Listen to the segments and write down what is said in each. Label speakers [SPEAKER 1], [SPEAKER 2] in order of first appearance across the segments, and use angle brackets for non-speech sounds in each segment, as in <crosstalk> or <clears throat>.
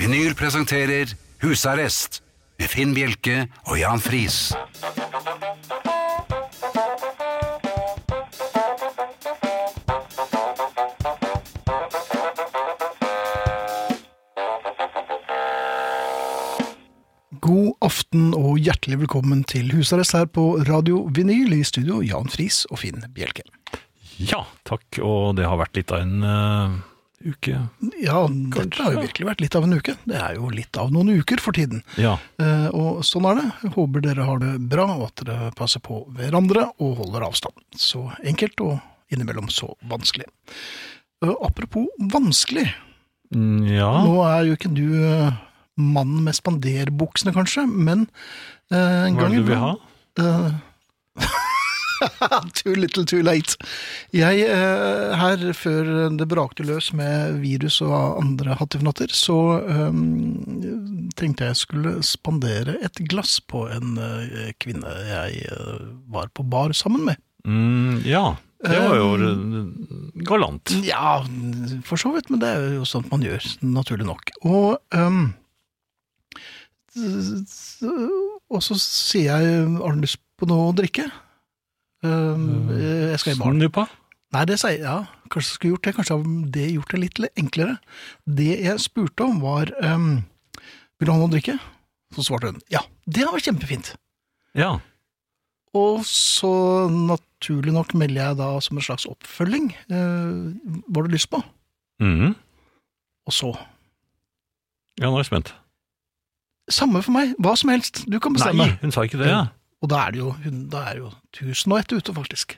[SPEAKER 1] Vinyl presenterer Husarrest med Finn Bjelke og Jan Friis.
[SPEAKER 2] God aften og hjertelig velkommen til husarrest her på Radio Vinyl i studio, Jan Friis og Finn Bjelke.
[SPEAKER 3] Ja, takk. Og det har vært litt av en eh, uke.
[SPEAKER 2] Ja, dette har jo virkelig vært litt av en uke. Det er jo litt av noen uker for tiden.
[SPEAKER 3] Ja.
[SPEAKER 2] Eh, og sånn er det. Jeg håper dere har det bra, og at dere passer på hverandre og holder avstand. Så enkelt, og innimellom så vanskelig. Eh, apropos vanskelig.
[SPEAKER 3] Mm, Ja.
[SPEAKER 2] Nå er jo ikke du eh, mannen med spanderbuksene, kanskje, men eh, en
[SPEAKER 3] Hva er
[SPEAKER 2] gang
[SPEAKER 3] det du vil ha?
[SPEAKER 2] iblant- Eh, <laughs> too little, too late. Jeg, eh, her før det brakte løs med virus og andre hattifnatter, så eh, tenkte jeg skulle spandere et glass på en eh, kvinne jeg eh, var på bar sammen med.
[SPEAKER 3] Mm, ja. Det var jo eh, galant.
[SPEAKER 2] Ja, for så vidt, men det er jo sånt man gjør, naturlig nok. Og, ehm, s- s- og så sier jeg, har du lyst på noe å drikke? Ehm, jeg skal i baren.
[SPEAKER 3] Snuppa?
[SPEAKER 2] Nei, det sier jeg. Ja, kanskje jeg skulle gjort det. Kanskje har det gjort det litt enklere. Det jeg spurte om, var ehm, Vil du ha noe å drikke? Så svarte hun ja. Det hadde vært kjempefint.
[SPEAKER 3] Ja.
[SPEAKER 2] Og så, naturlig nok, melder jeg da som en slags oppfølging. Eh, hva har du lyst på?
[SPEAKER 3] Mhm.
[SPEAKER 2] Og så
[SPEAKER 3] Ja, nå er jeg spent.
[SPEAKER 2] Samme for meg. Hva som helst. Du kan bestemme.
[SPEAKER 3] Nei, hun sa ikke det. Ja.
[SPEAKER 2] Og da er det jo, hun- da er det jo tusen og ett ute, faktisk.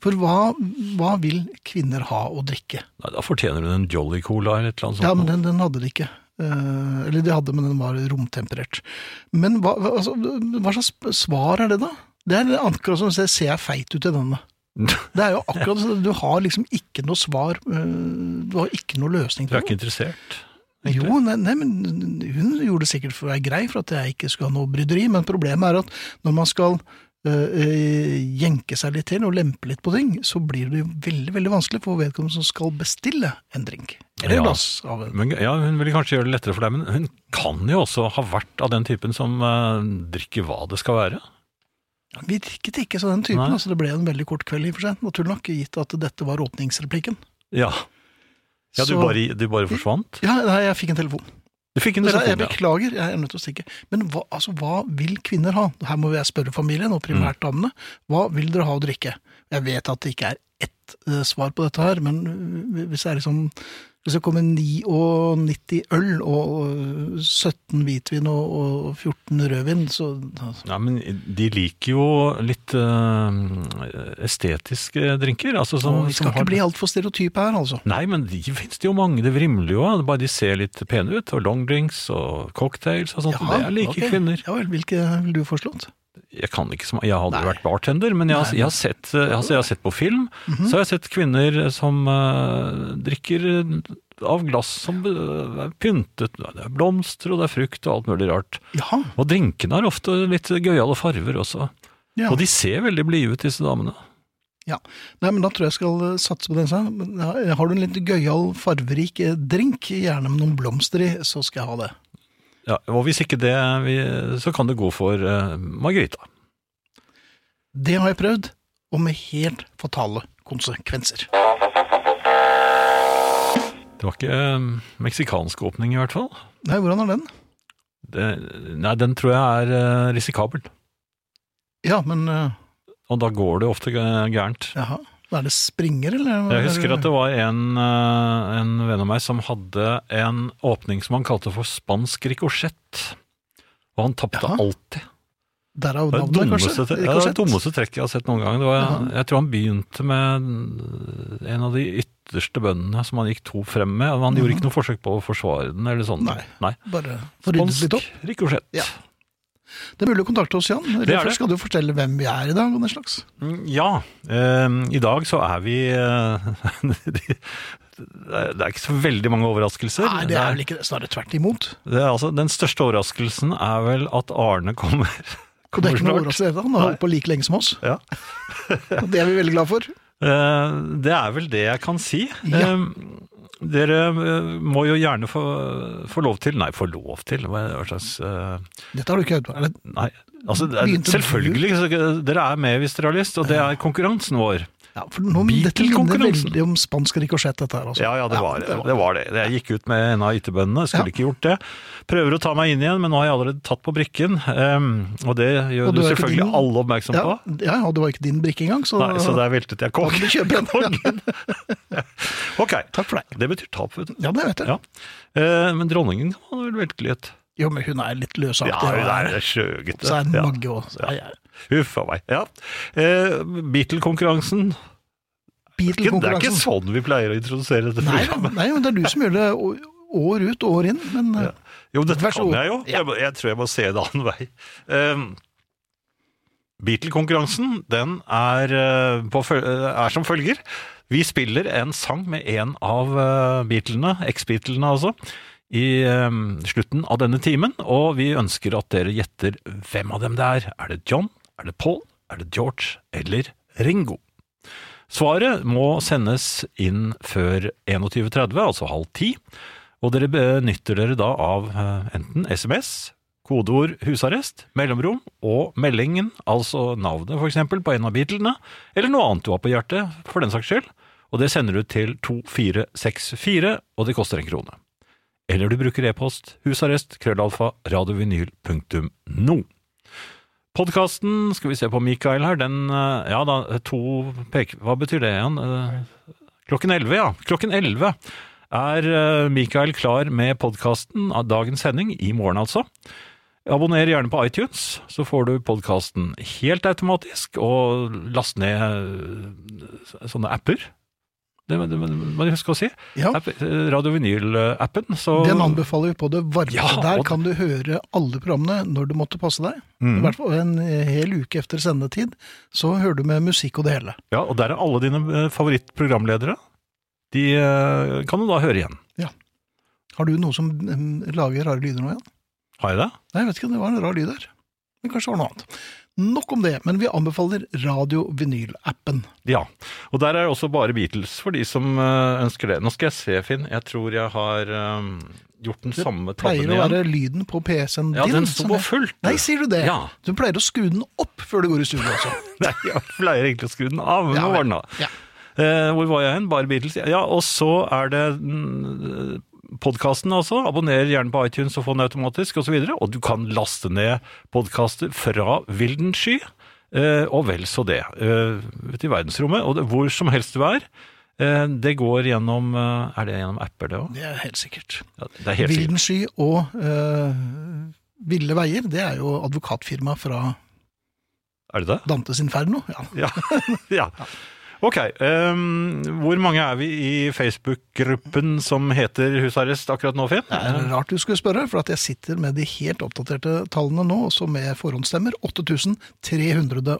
[SPEAKER 2] For hva, hva vil kvinner ha å drikke?
[SPEAKER 3] Nei, da fortjener hun en Jolly Cola eller et eller annet sånt.
[SPEAKER 2] Ja, men den, den hadde de ikke. Eh, eller de hadde, men den var romtemperert. Men hva, hva- altså, hva slags svar er det, da? Det er akkurat som å si 'ser jeg feit ut i denne'?
[SPEAKER 3] <laughs>
[SPEAKER 2] Det er jo akkurat sånn, Du har liksom ikke noe svar. eh, Du har ikke noe løsning
[SPEAKER 3] Du
[SPEAKER 2] på
[SPEAKER 3] er
[SPEAKER 2] det.
[SPEAKER 3] ikke interessert? egentlig?
[SPEAKER 2] Jo, nei, nei, men hun gjorde det sikkert for å være grei, for at jeg ikke skulle ha noe bryderi. Men problemet er at når man skal eh, eh, jenke seg litt til og lempe litt på ting, så blir det jo veldig veldig vanskelig for vedkommende som skal bestille en drink. Eller
[SPEAKER 3] Ja.
[SPEAKER 2] et glass av en
[SPEAKER 3] Men, ja, hun ville kanskje gjøre det lettere for deg, men hun kan jo også ha vært av den typen som eh, drikker hva det skal være.
[SPEAKER 2] Han virket ikke som den typen.
[SPEAKER 3] Nei.
[SPEAKER 2] altså Det ble en veldig kort kveld, i og for seg, naturlig nok, gitt at dette var åpningsreplikken.
[SPEAKER 3] Ja, ja du,
[SPEAKER 2] Så-
[SPEAKER 3] bare, du bare forsvant?
[SPEAKER 2] Ja, nei, jeg fikk en telefon.
[SPEAKER 3] Du fikk en
[SPEAKER 2] Så jeg, jeg
[SPEAKER 3] telefon, ja.
[SPEAKER 2] beklager, jeg er nødt til å stikke. Men hva, altså, hva vil kvinner ha? Her må jeg spørre familien, og
[SPEAKER 3] Mm.
[SPEAKER 2] primært damene. Hva vil dere ha å drikke? Jeg vet at det ikke er ett eh, svar på dette her, men eh, hvis det er liksom hvis det kommer 99 øl og eh, 17 hvitvin og, og 14 rødvin, så altså,
[SPEAKER 3] Nei, men de liker jo litt eh, estetiske drinker. Altså som,
[SPEAKER 2] Vi skal
[SPEAKER 3] som har-
[SPEAKER 2] ikke bli altfor stereotype her, altså.
[SPEAKER 3] Nei, men de finnes det jo mange. Det vrimler jo av. Bare de ser litt pene ut. Og longdrinks og cocktails og sånt. det er like
[SPEAKER 2] ok.
[SPEAKER 3] kvinner.
[SPEAKER 2] Ja vel, hvilke vil du foreslått?
[SPEAKER 3] Jeg kan ikke så mye. Jeg har aldri
[SPEAKER 2] Nei.
[SPEAKER 3] vært bartender, men jeg har,
[SPEAKER 2] Nei. Mhm.
[SPEAKER 3] jeg har, sett, eh, altså jeg har sett på film. Så har jeg sett kvinner som eh, drikker av glass som eh, er pyntet. Det er blomster, og det er frukt og alt mulig rart.
[SPEAKER 2] Ja,
[SPEAKER 3] Og drinkene har ofte litt gøyale farver også.
[SPEAKER 2] ja.
[SPEAKER 3] Og de ser veldig blide ut, disse damene.
[SPEAKER 2] ja. Nei, men da tror jeg jeg skal eh, satse på den. sa jeg. Men, ja, Har du en litt gøyal, farverik eh, drink, gjerne med noen blomster i, så skal jeg ha det.
[SPEAKER 3] Ja, og hvis ikke det, vi- så kan det gå for eh, Margarita.
[SPEAKER 2] Det har jeg prøvd, og med helt fatale konsekvenser.
[SPEAKER 3] Det var ikke eh, meksikansk åpning i hvert fall.
[SPEAKER 2] Nei, hvordan er den?
[SPEAKER 3] Det, nei, den tror jeg er eh, risikabel.
[SPEAKER 2] Ja, men eh,
[SPEAKER 3] Og da går det ofte eh, gærent.
[SPEAKER 2] jaha. Er det springer, eller?
[SPEAKER 3] Jeg husker at det var en, eh, en venn av meg som hadde en åpning som han kalte for spansk rikosjett. Og han tapte
[SPEAKER 2] Jaha.
[SPEAKER 3] alltid.
[SPEAKER 2] Derav
[SPEAKER 3] Det er
[SPEAKER 2] navnet, kanskje?
[SPEAKER 3] dummeste, ja, det er det
[SPEAKER 2] Rikosjett.
[SPEAKER 3] dummeste trekket jeg har sett noen gang. Det var, Jeg tror han begynte med en av de ytterste bøndene som han gikk to frem med. og Han gjorde ikke noe forsøk på å forsvare den eller sånne
[SPEAKER 2] Mhm. Nei.
[SPEAKER 3] ting. Nei.
[SPEAKER 2] Bare for å rydde litt opp.
[SPEAKER 3] rikosjett.
[SPEAKER 2] Ja. Det er mulig å kontakte oss, Jan. Eller
[SPEAKER 3] Det er det.
[SPEAKER 2] først skal du fortelle hvem vi er i dag, og den slags.
[SPEAKER 3] Mm, Ja. eh, I dag så er vi eh, <laughs> de- Det er ikke så veldig mange overraskelser.
[SPEAKER 2] Nei, det er vel ikke det. Snarere tvert imot.
[SPEAKER 3] det er altså, den største overraskelsen er vel at Arne kommer.
[SPEAKER 2] Og det er ikke noe
[SPEAKER 3] snart.
[SPEAKER 2] overraskelse. i det, Han har holdt på like lenge som oss.
[SPEAKER 3] Ja.
[SPEAKER 2] Og det er vi veldig glad for.
[SPEAKER 3] Eh, Det er vel det jeg kan si.
[SPEAKER 2] Ja.
[SPEAKER 3] Eh, Dere eh, må jo gjerne få, få lov til Nei, få lov til? Hva hva slags eh,
[SPEAKER 2] Dette har du ikke hørt på. Er det-
[SPEAKER 3] Nei. Altså, det er,
[SPEAKER 2] Begynte du?
[SPEAKER 3] selvfølgelig. så Dere er med hvis dere har lyst, og det er konkurransen vår.
[SPEAKER 2] Ja, for noen, dette minner
[SPEAKER 3] Beatle-konkurransen.
[SPEAKER 2] veldig om spansk rikosjett, dette her. Altså.
[SPEAKER 3] Ja, ja, det var det. det, var det. Jeg gikk ut med en av ytterbøndene, skulle
[SPEAKER 2] Ja.
[SPEAKER 3] ikke gjort det. Prøver å ta meg inn igjen, men nå har jeg allerede tatt på brikken. eh, og det gjør
[SPEAKER 2] Og du
[SPEAKER 3] jo
[SPEAKER 2] er ikke
[SPEAKER 3] selvfølgelig
[SPEAKER 2] din-
[SPEAKER 3] alle oppmerksom
[SPEAKER 2] ja,
[SPEAKER 3] på.
[SPEAKER 2] ja, og det var ikke din brikke engang, så,
[SPEAKER 3] Nei, så der veltet
[SPEAKER 2] da
[SPEAKER 3] jeg kong.
[SPEAKER 2] kan du kjøpe
[SPEAKER 3] <laughs>
[SPEAKER 2] en. <laughs>
[SPEAKER 3] Ok,
[SPEAKER 2] Takk for deg.
[SPEAKER 3] det betyr tap, vet du.
[SPEAKER 2] Ja, det vet jeg.
[SPEAKER 3] Ja. Eh, men dronningen kan man vel velge litt.
[SPEAKER 2] Jo, men hun er litt løsaktig.
[SPEAKER 3] Ja,
[SPEAKER 2] og
[SPEAKER 3] hun
[SPEAKER 2] er-
[SPEAKER 3] er sjøgutte.
[SPEAKER 2] Så er den
[SPEAKER 3] Ja.
[SPEAKER 2] Magge også. Ja, ja.
[SPEAKER 3] Huff a meg. Ja. Eh, Beatle-konkurransen. Det er ikke
[SPEAKER 2] Beatle-konkurransen.
[SPEAKER 3] sånn vi pleier å introdusere dette
[SPEAKER 2] Nei,
[SPEAKER 3] programmet.
[SPEAKER 2] nei, men det er du som gjør det å- år ut og år inn. Men eh,
[SPEAKER 3] Jo, dette
[SPEAKER 2] Vær så
[SPEAKER 3] kan
[SPEAKER 2] god.
[SPEAKER 3] jeg jo.
[SPEAKER 2] Ja.
[SPEAKER 3] Jeg, må- jeg tror jeg må se en annen vei. Eh, Beatle-konkurransen den er, eh, på, føl- eh, er som følger. Vi spiller en sang med en av eh, Beatlene, eks-Beatlene altså, i eh, slutten av denne timen. Og vi ønsker at dere gjetter hvem av dem det er. Er det John, er det Paul, er det George eller Ringo? Svaret må sendes inn før 21.30, altså halv ti. Og dere benytter dere da av eh, enten SMS, kodeord husarrest, mellomrom og meldingen, altså navnet for eksempel på en av Beatlene, eller noe annet du har på hjertet, for den saks skyld. Og det sender du til 2464, og det koster en krone. Eller du bruker e-post husarrest krøllalfa radiovinyl.no. Podkasten, skal vi se på Mikael her, den eh, Ja da, to peke... Hva betyr det igjen? Eh, Klokken 11, ja. Klokken 11 er eh, Mikael klar med podkasten av dagens sending, i morgen altså. Abonner gjerne på iTunes, så får du podkasten helt automatisk, og last ned eh, sånne apper. Det må det må- det må du huske å si.
[SPEAKER 2] ja,
[SPEAKER 3] App, eh, Radio Vinyl-appen. Så
[SPEAKER 2] den anbefaler vi på det varmeste.
[SPEAKER 3] Ja,
[SPEAKER 2] Der
[SPEAKER 3] og-
[SPEAKER 2] kan du høre alle programmene når du måtte passe deg. I
[SPEAKER 3] Mm.
[SPEAKER 2] hvert fall en hel uke etter sendetid, så hører du med musikk og det hele.
[SPEAKER 3] Ja, og der er alle dine eh, favorittprogramledere. De eh, kan du da høre igjen.
[SPEAKER 2] Har du noe som em, lager rare lyder nå igjen?
[SPEAKER 3] Har jeg det?
[SPEAKER 2] Nei, jeg vet ikke, det var en rar lyd her. Men kanskje det var noe annet. Nok om det, men vi anbefaler Radio Vinyl-appen.
[SPEAKER 3] Ja. Og der er også bare Beatles for de som eh, ønsker det. Nå skal jeg se, Finn. Jeg tror jeg har eh, gjort den samme
[SPEAKER 2] Pleier
[SPEAKER 3] tabben
[SPEAKER 2] å
[SPEAKER 3] igjen.
[SPEAKER 2] være lyden på PC-en
[SPEAKER 3] Ja,
[SPEAKER 2] din.
[SPEAKER 3] den sto
[SPEAKER 2] som
[SPEAKER 3] på
[SPEAKER 2] jeg-
[SPEAKER 3] fullt.
[SPEAKER 2] Nei, sier du det?
[SPEAKER 3] Ja.
[SPEAKER 2] Du pleier å skru den opp før du går i studio
[SPEAKER 3] <laughs>
[SPEAKER 2] også.
[SPEAKER 3] Nei, jeg pleier egentlig å skru den av, men
[SPEAKER 2] Ja,
[SPEAKER 3] nå
[SPEAKER 2] vel.
[SPEAKER 3] var den av.
[SPEAKER 2] Ja.
[SPEAKER 3] Eh, hvor var jeg hen? Bare Beatles. Ja, og så er det mm, podkasten, altså. Abonner gjerne på iTunes og få den automatisk, osv. Og, og du kan laste ned podkaster fra vilden sky, eh, og vel så det. eh, Ute i verdensrommet, og det, hvor som helst du er. Eh, det går gjennom eh, Er det gjennom apper, det òg?
[SPEAKER 2] Det er helt sikkert.
[SPEAKER 3] Ja, det er helt sikkert.
[SPEAKER 2] Vilden sky og eh, Ville veier, det er jo advokatfirmaet fra
[SPEAKER 3] Er det det?
[SPEAKER 2] Dantes Inferno. Ja.
[SPEAKER 3] Ja. <laughs> ja. Ok, ehm, hvor mange er vi i Facebook-gruppen som heter Husarrest akkurat nå, Finn?
[SPEAKER 2] Det er rart du skulle spørre, for at jeg sitter med de helt oppdaterte tallene nå, også med forhåndsstemmer.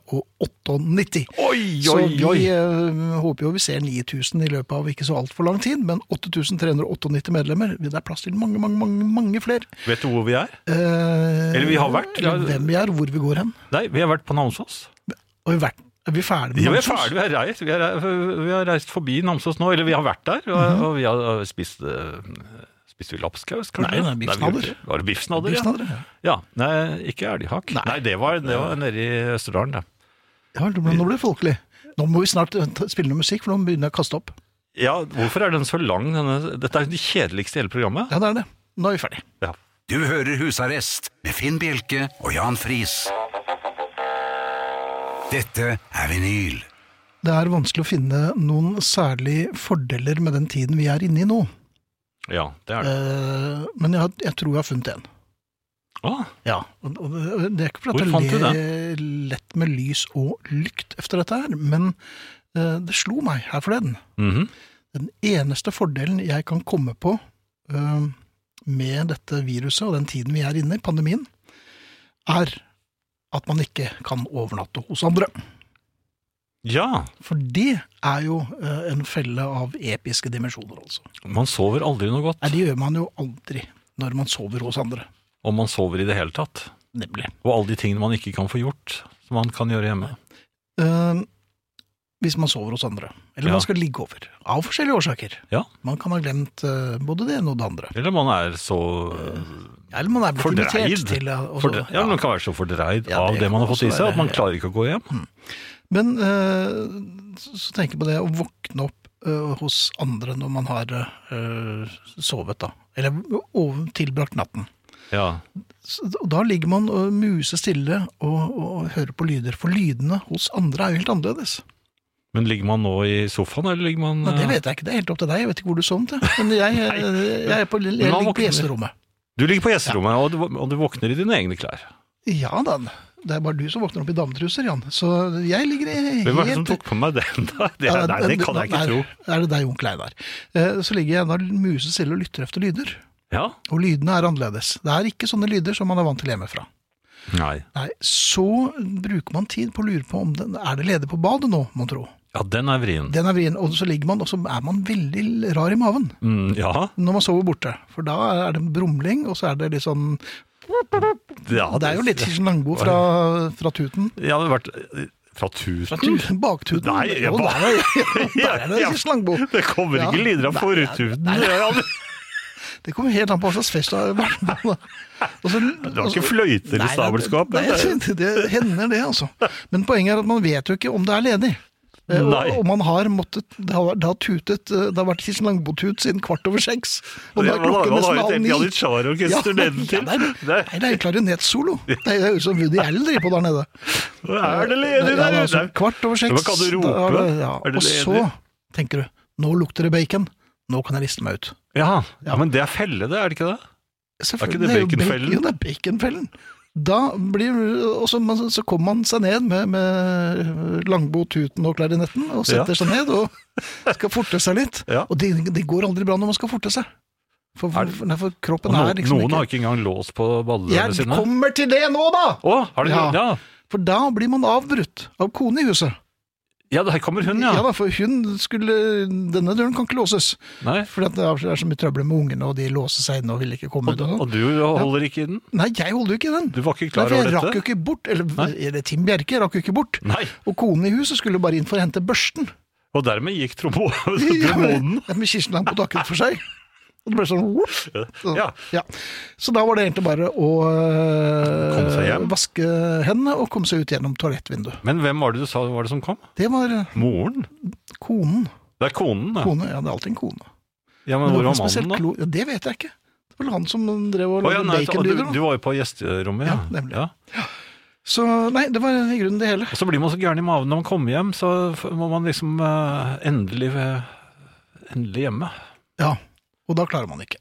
[SPEAKER 2] 8398.
[SPEAKER 3] Oi,
[SPEAKER 2] Så
[SPEAKER 3] oi,
[SPEAKER 2] vi
[SPEAKER 3] oi!
[SPEAKER 2] eh, håper jo vi ser 9000 i løpet av ikke så altfor lang tid, men 8398 medlemmer. Det er plass til mange, mange, mange, mange flere.
[SPEAKER 3] Vet du hvor vi er?
[SPEAKER 2] Eh,
[SPEAKER 3] Eller vi har vært.
[SPEAKER 2] eller Hvem vi er, hvor vi går hen.
[SPEAKER 3] Nei, vi har vært på Namsos.
[SPEAKER 2] Og vi har vært, er vi ferdig med
[SPEAKER 3] Ja, vi er
[SPEAKER 2] Namsos?
[SPEAKER 3] ferdig, vi har reist, vi har, vi har reist forbi Namsos nå, eller vi har vært der, og, og vi har spist eh, Spiste vi lapskaus, kanskje?
[SPEAKER 2] Nei, nei,
[SPEAKER 3] vi
[SPEAKER 2] biffsnadder.
[SPEAKER 3] gjorde det. Var det biffsnadder?
[SPEAKER 2] Biffen hadde det, ja.
[SPEAKER 3] Ja. ja. Nei, ikke elghakk. Nei, det, var, det var nede i Østerdalen, det.
[SPEAKER 2] Ja, nå ble- nå ble det folkelig. Nå må vi snart eh, ta- spille noe musikk, for nå begynner jeg å kaste opp.
[SPEAKER 3] Ja, hvorfor er den så lang? Denne, dette er jo det kjedeligste i hele programmet.
[SPEAKER 2] Ja, det er det. Nå er vi ferdig.
[SPEAKER 3] Ja.
[SPEAKER 1] Du hører Husarrest med Finn Bjelke og Jan Friis. Dette er vinyl.
[SPEAKER 2] Det er vanskelig å finne noen særlig fordeler med den tiden vi er inne i nå.
[SPEAKER 3] ja, det er det.
[SPEAKER 2] Eh, men jeg, har- jeg tror jeg har funnet en.
[SPEAKER 3] Å,
[SPEAKER 2] Ja, og og det det er ikke fordi
[SPEAKER 3] Hvor
[SPEAKER 2] at
[SPEAKER 3] fant
[SPEAKER 2] jeg
[SPEAKER 3] du
[SPEAKER 2] ler lett med lys og lykt efter dette her, men eh, det slo meg her forleden.
[SPEAKER 3] mhm.
[SPEAKER 2] Den eneste fordelen jeg kan komme på eh, med dette viruset og den tiden vi er inne i, pandemien, er at man ikke kan overnatte hos andre.
[SPEAKER 3] Ja.
[SPEAKER 2] For det er jo eh, en felle av episke dimensjoner, altså.
[SPEAKER 3] Man sover aldri noe
[SPEAKER 2] Nei,
[SPEAKER 3] godt.
[SPEAKER 2] det gjør man jo aldri når man sover hos andre.
[SPEAKER 3] Om man sover i det hele tatt.
[SPEAKER 2] Nemlig.
[SPEAKER 3] Og alle de tingene man ikke kan få gjort, som man kan gjøre hjemme.
[SPEAKER 2] Eh, hvis man sover hos andre. Eller
[SPEAKER 3] Ja.
[SPEAKER 2] man skal ligge over. Av forskjellige årsaker.
[SPEAKER 3] Ja.
[SPEAKER 2] Man kan ha glemt eh, både det ene og det andre.
[SPEAKER 3] Eller man er så
[SPEAKER 2] Eller man er blitt
[SPEAKER 3] fordreid.
[SPEAKER 2] invitert til å- å-
[SPEAKER 3] Fordre, ja,
[SPEAKER 2] ja.
[SPEAKER 3] man kan være så fordreid
[SPEAKER 2] Ja, det Mm.
[SPEAKER 3] av det
[SPEAKER 2] kan
[SPEAKER 3] man har fått
[SPEAKER 2] også
[SPEAKER 3] i seg, at
[SPEAKER 2] være-
[SPEAKER 3] man klarer ikke å gå hjem.
[SPEAKER 2] Men eh, så så tenker jeg på det å våkne opp eh, hos andre når man har eh, sovet, da. Eller over- tilbrakt natten.
[SPEAKER 3] Ja.
[SPEAKER 2] Så, og da ligger man uh, musestille og, og hører på lyder, for lydene hos andre er jo helt annerledes.
[SPEAKER 3] Men ligger man nå i sofaen, eller ligger man
[SPEAKER 2] Nei, det
[SPEAKER 3] eh,
[SPEAKER 2] vet jeg ikke, det er helt opp til deg, jeg vet ikke hvor du sov til. Men
[SPEAKER 3] <laughs>
[SPEAKER 2] jeg, jeg, jeg, er på, jeg ligger
[SPEAKER 3] Men man
[SPEAKER 2] på
[SPEAKER 3] våkner.
[SPEAKER 2] gjesterommet.
[SPEAKER 3] Du ligger på gjesterommet, og, du, og du våkner i dine egne klær.
[SPEAKER 2] Ja da, det er bare du som våkner opp i dametruser, Jan. Så jeg ligger i helt
[SPEAKER 3] Hvem var det som tok på meg den, da? <laughs> Det,
[SPEAKER 2] Ja,
[SPEAKER 3] nei, det kan jeg ikke
[SPEAKER 2] nei,
[SPEAKER 3] tro.
[SPEAKER 2] Er det deg, onkel Einar? Eh, Så ligger jeg da musestille og lytter efter lyder.
[SPEAKER 3] Ja?
[SPEAKER 2] Og lydene er annerledes. Det er ikke sånne lyder som man er vant til hjemmefra.
[SPEAKER 3] Nei.
[SPEAKER 2] Nei, Så bruker man tid på å lure på om den er det ledig på badet nå, mon tro.
[SPEAKER 3] Ja, den er vrien.
[SPEAKER 2] Den er vrien, og så ligger man, og så er man veldig rar i maven
[SPEAKER 3] Mm, ja,
[SPEAKER 2] når man sover borte. For da er det en brumling, og så er det litt sånn
[SPEAKER 3] ja.
[SPEAKER 2] Det er jo litt Kirsten Langbo fra, fra Tuten.
[SPEAKER 3] Jeg hadde vært eh, fra tusen.
[SPEAKER 2] Tuten, Baktuten.
[SPEAKER 3] Mm. Nei, jeg
[SPEAKER 2] Jo,
[SPEAKER 3] ba-
[SPEAKER 2] der
[SPEAKER 3] <laughs>
[SPEAKER 2] er- <laughs> der er det
[SPEAKER 3] Ja.
[SPEAKER 2] Kirsten Langbo.
[SPEAKER 3] Det kommer
[SPEAKER 2] Ja.
[SPEAKER 3] ikke lyder av forhuden. Det er aldri-
[SPEAKER 2] Det kommer helt an på hva slags fest
[SPEAKER 3] <laughs>
[SPEAKER 2] det har vært på. Og så-
[SPEAKER 3] Det var
[SPEAKER 2] og så-
[SPEAKER 3] ikke fløyter i
[SPEAKER 2] Nei,
[SPEAKER 3] stabelskapet.
[SPEAKER 2] Nei,
[SPEAKER 3] Det-
[SPEAKER 2] det, <laughs> det hender det, altså. Men poenget er at man vet jo ikke om det er ledig. Eh,
[SPEAKER 3] Nei.
[SPEAKER 2] Og, og man har måttet Det har, det har tutet eh, Det har vært Kirsten Langbo-tut siden kvart over seks. Og nå
[SPEAKER 3] Ja,
[SPEAKER 2] er
[SPEAKER 3] man har-
[SPEAKER 2] klokken
[SPEAKER 3] man
[SPEAKER 2] nesten
[SPEAKER 3] har jo
[SPEAKER 2] halv
[SPEAKER 3] et helt
[SPEAKER 2] ni.
[SPEAKER 3] Janitsjar-orkester
[SPEAKER 2] Ja,
[SPEAKER 3] nedentil.
[SPEAKER 2] ja, det er-
[SPEAKER 3] Det-
[SPEAKER 2] Nei, det er klarinettsolo. Det høres ut som Woody Allen driver på der nede.
[SPEAKER 3] Er det ledig
[SPEAKER 2] Ja,
[SPEAKER 3] der
[SPEAKER 2] altså,
[SPEAKER 3] ute?
[SPEAKER 2] Kvart over seks.
[SPEAKER 3] Men kan du rope?
[SPEAKER 2] da er det- ja.
[SPEAKER 3] Er det
[SPEAKER 2] Og så
[SPEAKER 3] ledig?
[SPEAKER 2] tenker du Nå lukter det bacon. Nå kan jeg riste meg ut.
[SPEAKER 3] Ja, ja, men det er felle, det, er det ikke det?
[SPEAKER 2] Selvfølgelig.
[SPEAKER 3] Er ikke
[SPEAKER 2] jo
[SPEAKER 3] det baconfellen?
[SPEAKER 2] bacon- Jo, det er baconfellen. Da blir, og så, men så kommer man seg ned med, med langbo, tuten og klarinetten, og setter
[SPEAKER 3] Ja.
[SPEAKER 2] seg ned og skal forte seg litt.
[SPEAKER 3] Ja.
[SPEAKER 2] Og det, det går aldri bra når man skal forte seg. For,
[SPEAKER 3] Er det-
[SPEAKER 2] for, nei, for
[SPEAKER 3] Og
[SPEAKER 2] kroppen
[SPEAKER 3] no,
[SPEAKER 2] er liksom
[SPEAKER 3] noen har
[SPEAKER 2] ikke
[SPEAKER 3] ikke engang lås på badedørene
[SPEAKER 2] Jeg
[SPEAKER 3] sine.
[SPEAKER 2] kommer til det nå, da!
[SPEAKER 3] Å, har de
[SPEAKER 2] Ja.
[SPEAKER 3] ja.
[SPEAKER 2] For da blir man avbrutt av kone i huset.
[SPEAKER 3] ja, her kommer hun, ja.
[SPEAKER 2] Ja da, for hun skulle Denne døren kan ikke låses.
[SPEAKER 3] Nei.
[SPEAKER 2] For det er så mye trøbbel med ungene, og de låser seg inne og vil ikke komme
[SPEAKER 3] Og,
[SPEAKER 2] ut. og sånn.
[SPEAKER 3] og du holder ikke i den?
[SPEAKER 2] Nei, jeg holder jo ikke i den.
[SPEAKER 3] Du var ikke
[SPEAKER 2] Nei,
[SPEAKER 3] klar
[SPEAKER 2] for jeg
[SPEAKER 3] over
[SPEAKER 2] rakk jo
[SPEAKER 3] dette? Mm.
[SPEAKER 2] ikke bort, eller, eller Tim Bjerke rakk jo ikke bort.
[SPEAKER 3] Nei.
[SPEAKER 2] Og konen i huset skulle bare inn for å hente
[SPEAKER 3] <laughs>
[SPEAKER 2] børsten.
[SPEAKER 3] Og dermed
[SPEAKER 2] <laughs>
[SPEAKER 3] gikk <laughs> trombo-
[SPEAKER 2] Ja, men-
[SPEAKER 3] trombonen.
[SPEAKER 2] ja, Med Kirsten Lang på taket for seg. Og det ble sånn whoop. Så,
[SPEAKER 3] Ja.
[SPEAKER 2] Så da var det egentlig bare å øh,
[SPEAKER 3] Komme seg hjem.
[SPEAKER 2] vaske hendene og komme seg ut gjennom toalettvinduet.
[SPEAKER 3] Men hvem var det du sa var det som kom?
[SPEAKER 2] Det var øh,
[SPEAKER 3] Moren?
[SPEAKER 2] konen.
[SPEAKER 3] Det er konen, da.
[SPEAKER 2] Kone, ja, det er alltid en kone.
[SPEAKER 3] Ja,
[SPEAKER 2] Det var
[SPEAKER 3] men hvor var
[SPEAKER 2] ikke noe spesielt
[SPEAKER 3] mannen, da?
[SPEAKER 2] klo- ja, det vet jeg ikke. Det var vel han som drev og
[SPEAKER 3] Å, ja,
[SPEAKER 2] lagde
[SPEAKER 3] nei, du,
[SPEAKER 2] baconlyder.
[SPEAKER 3] du
[SPEAKER 2] da.
[SPEAKER 3] var jo på gjesterommet, ja.
[SPEAKER 2] Ja, nemlig.
[SPEAKER 3] Ja.
[SPEAKER 2] Så nei, det var i grunnen det hele.
[SPEAKER 3] Og så blir man så gæren i maven når man kommer hjem, så f- må man liksom eh, endelig eh, Endelig hjemme.
[SPEAKER 2] Ja, og da klarer man ikke.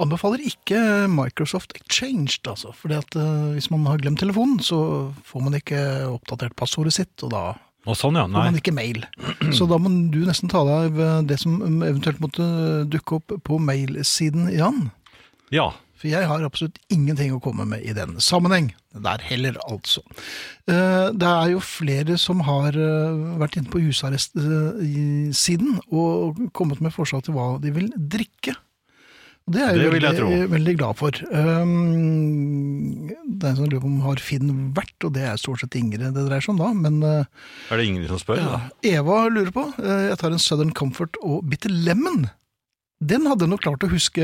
[SPEAKER 2] Anbefaler ikke Microsoft Exchange, altså. fordi at eh, hvis man har glemt telefonen, så får man ikke oppdatert passordet sitt, og da
[SPEAKER 3] Og sånn, ja.
[SPEAKER 2] får
[SPEAKER 3] Nei.
[SPEAKER 2] man ikke mail. <clears throat> Så da må du nesten ta deg av eh, det som eh, eventuelt måtte dukke opp på mailsiden, Jan.
[SPEAKER 3] Ja.
[SPEAKER 2] For jeg har absolutt ingenting å komme med i den sammenheng. Der heller, altså. Eh, Det er jo flere som har eh, vært inne på husarrestsiden og kommet med forslag til hva de vil drikke. Og Det er jeg,
[SPEAKER 3] Det
[SPEAKER 2] jo
[SPEAKER 3] vil jeg
[SPEAKER 2] veldig, veldig glad for. Um, det er en som lurer på om har Finn vært, og det er stort sett Ingrid det dreier seg om da, men eh,
[SPEAKER 3] Er det ingen som spør?
[SPEAKER 2] ja.
[SPEAKER 3] da?
[SPEAKER 2] Eva lurer på. eh, Jeg tar en Southern Comfort og Bitter Lemon. Den hadde hun nok klart å huske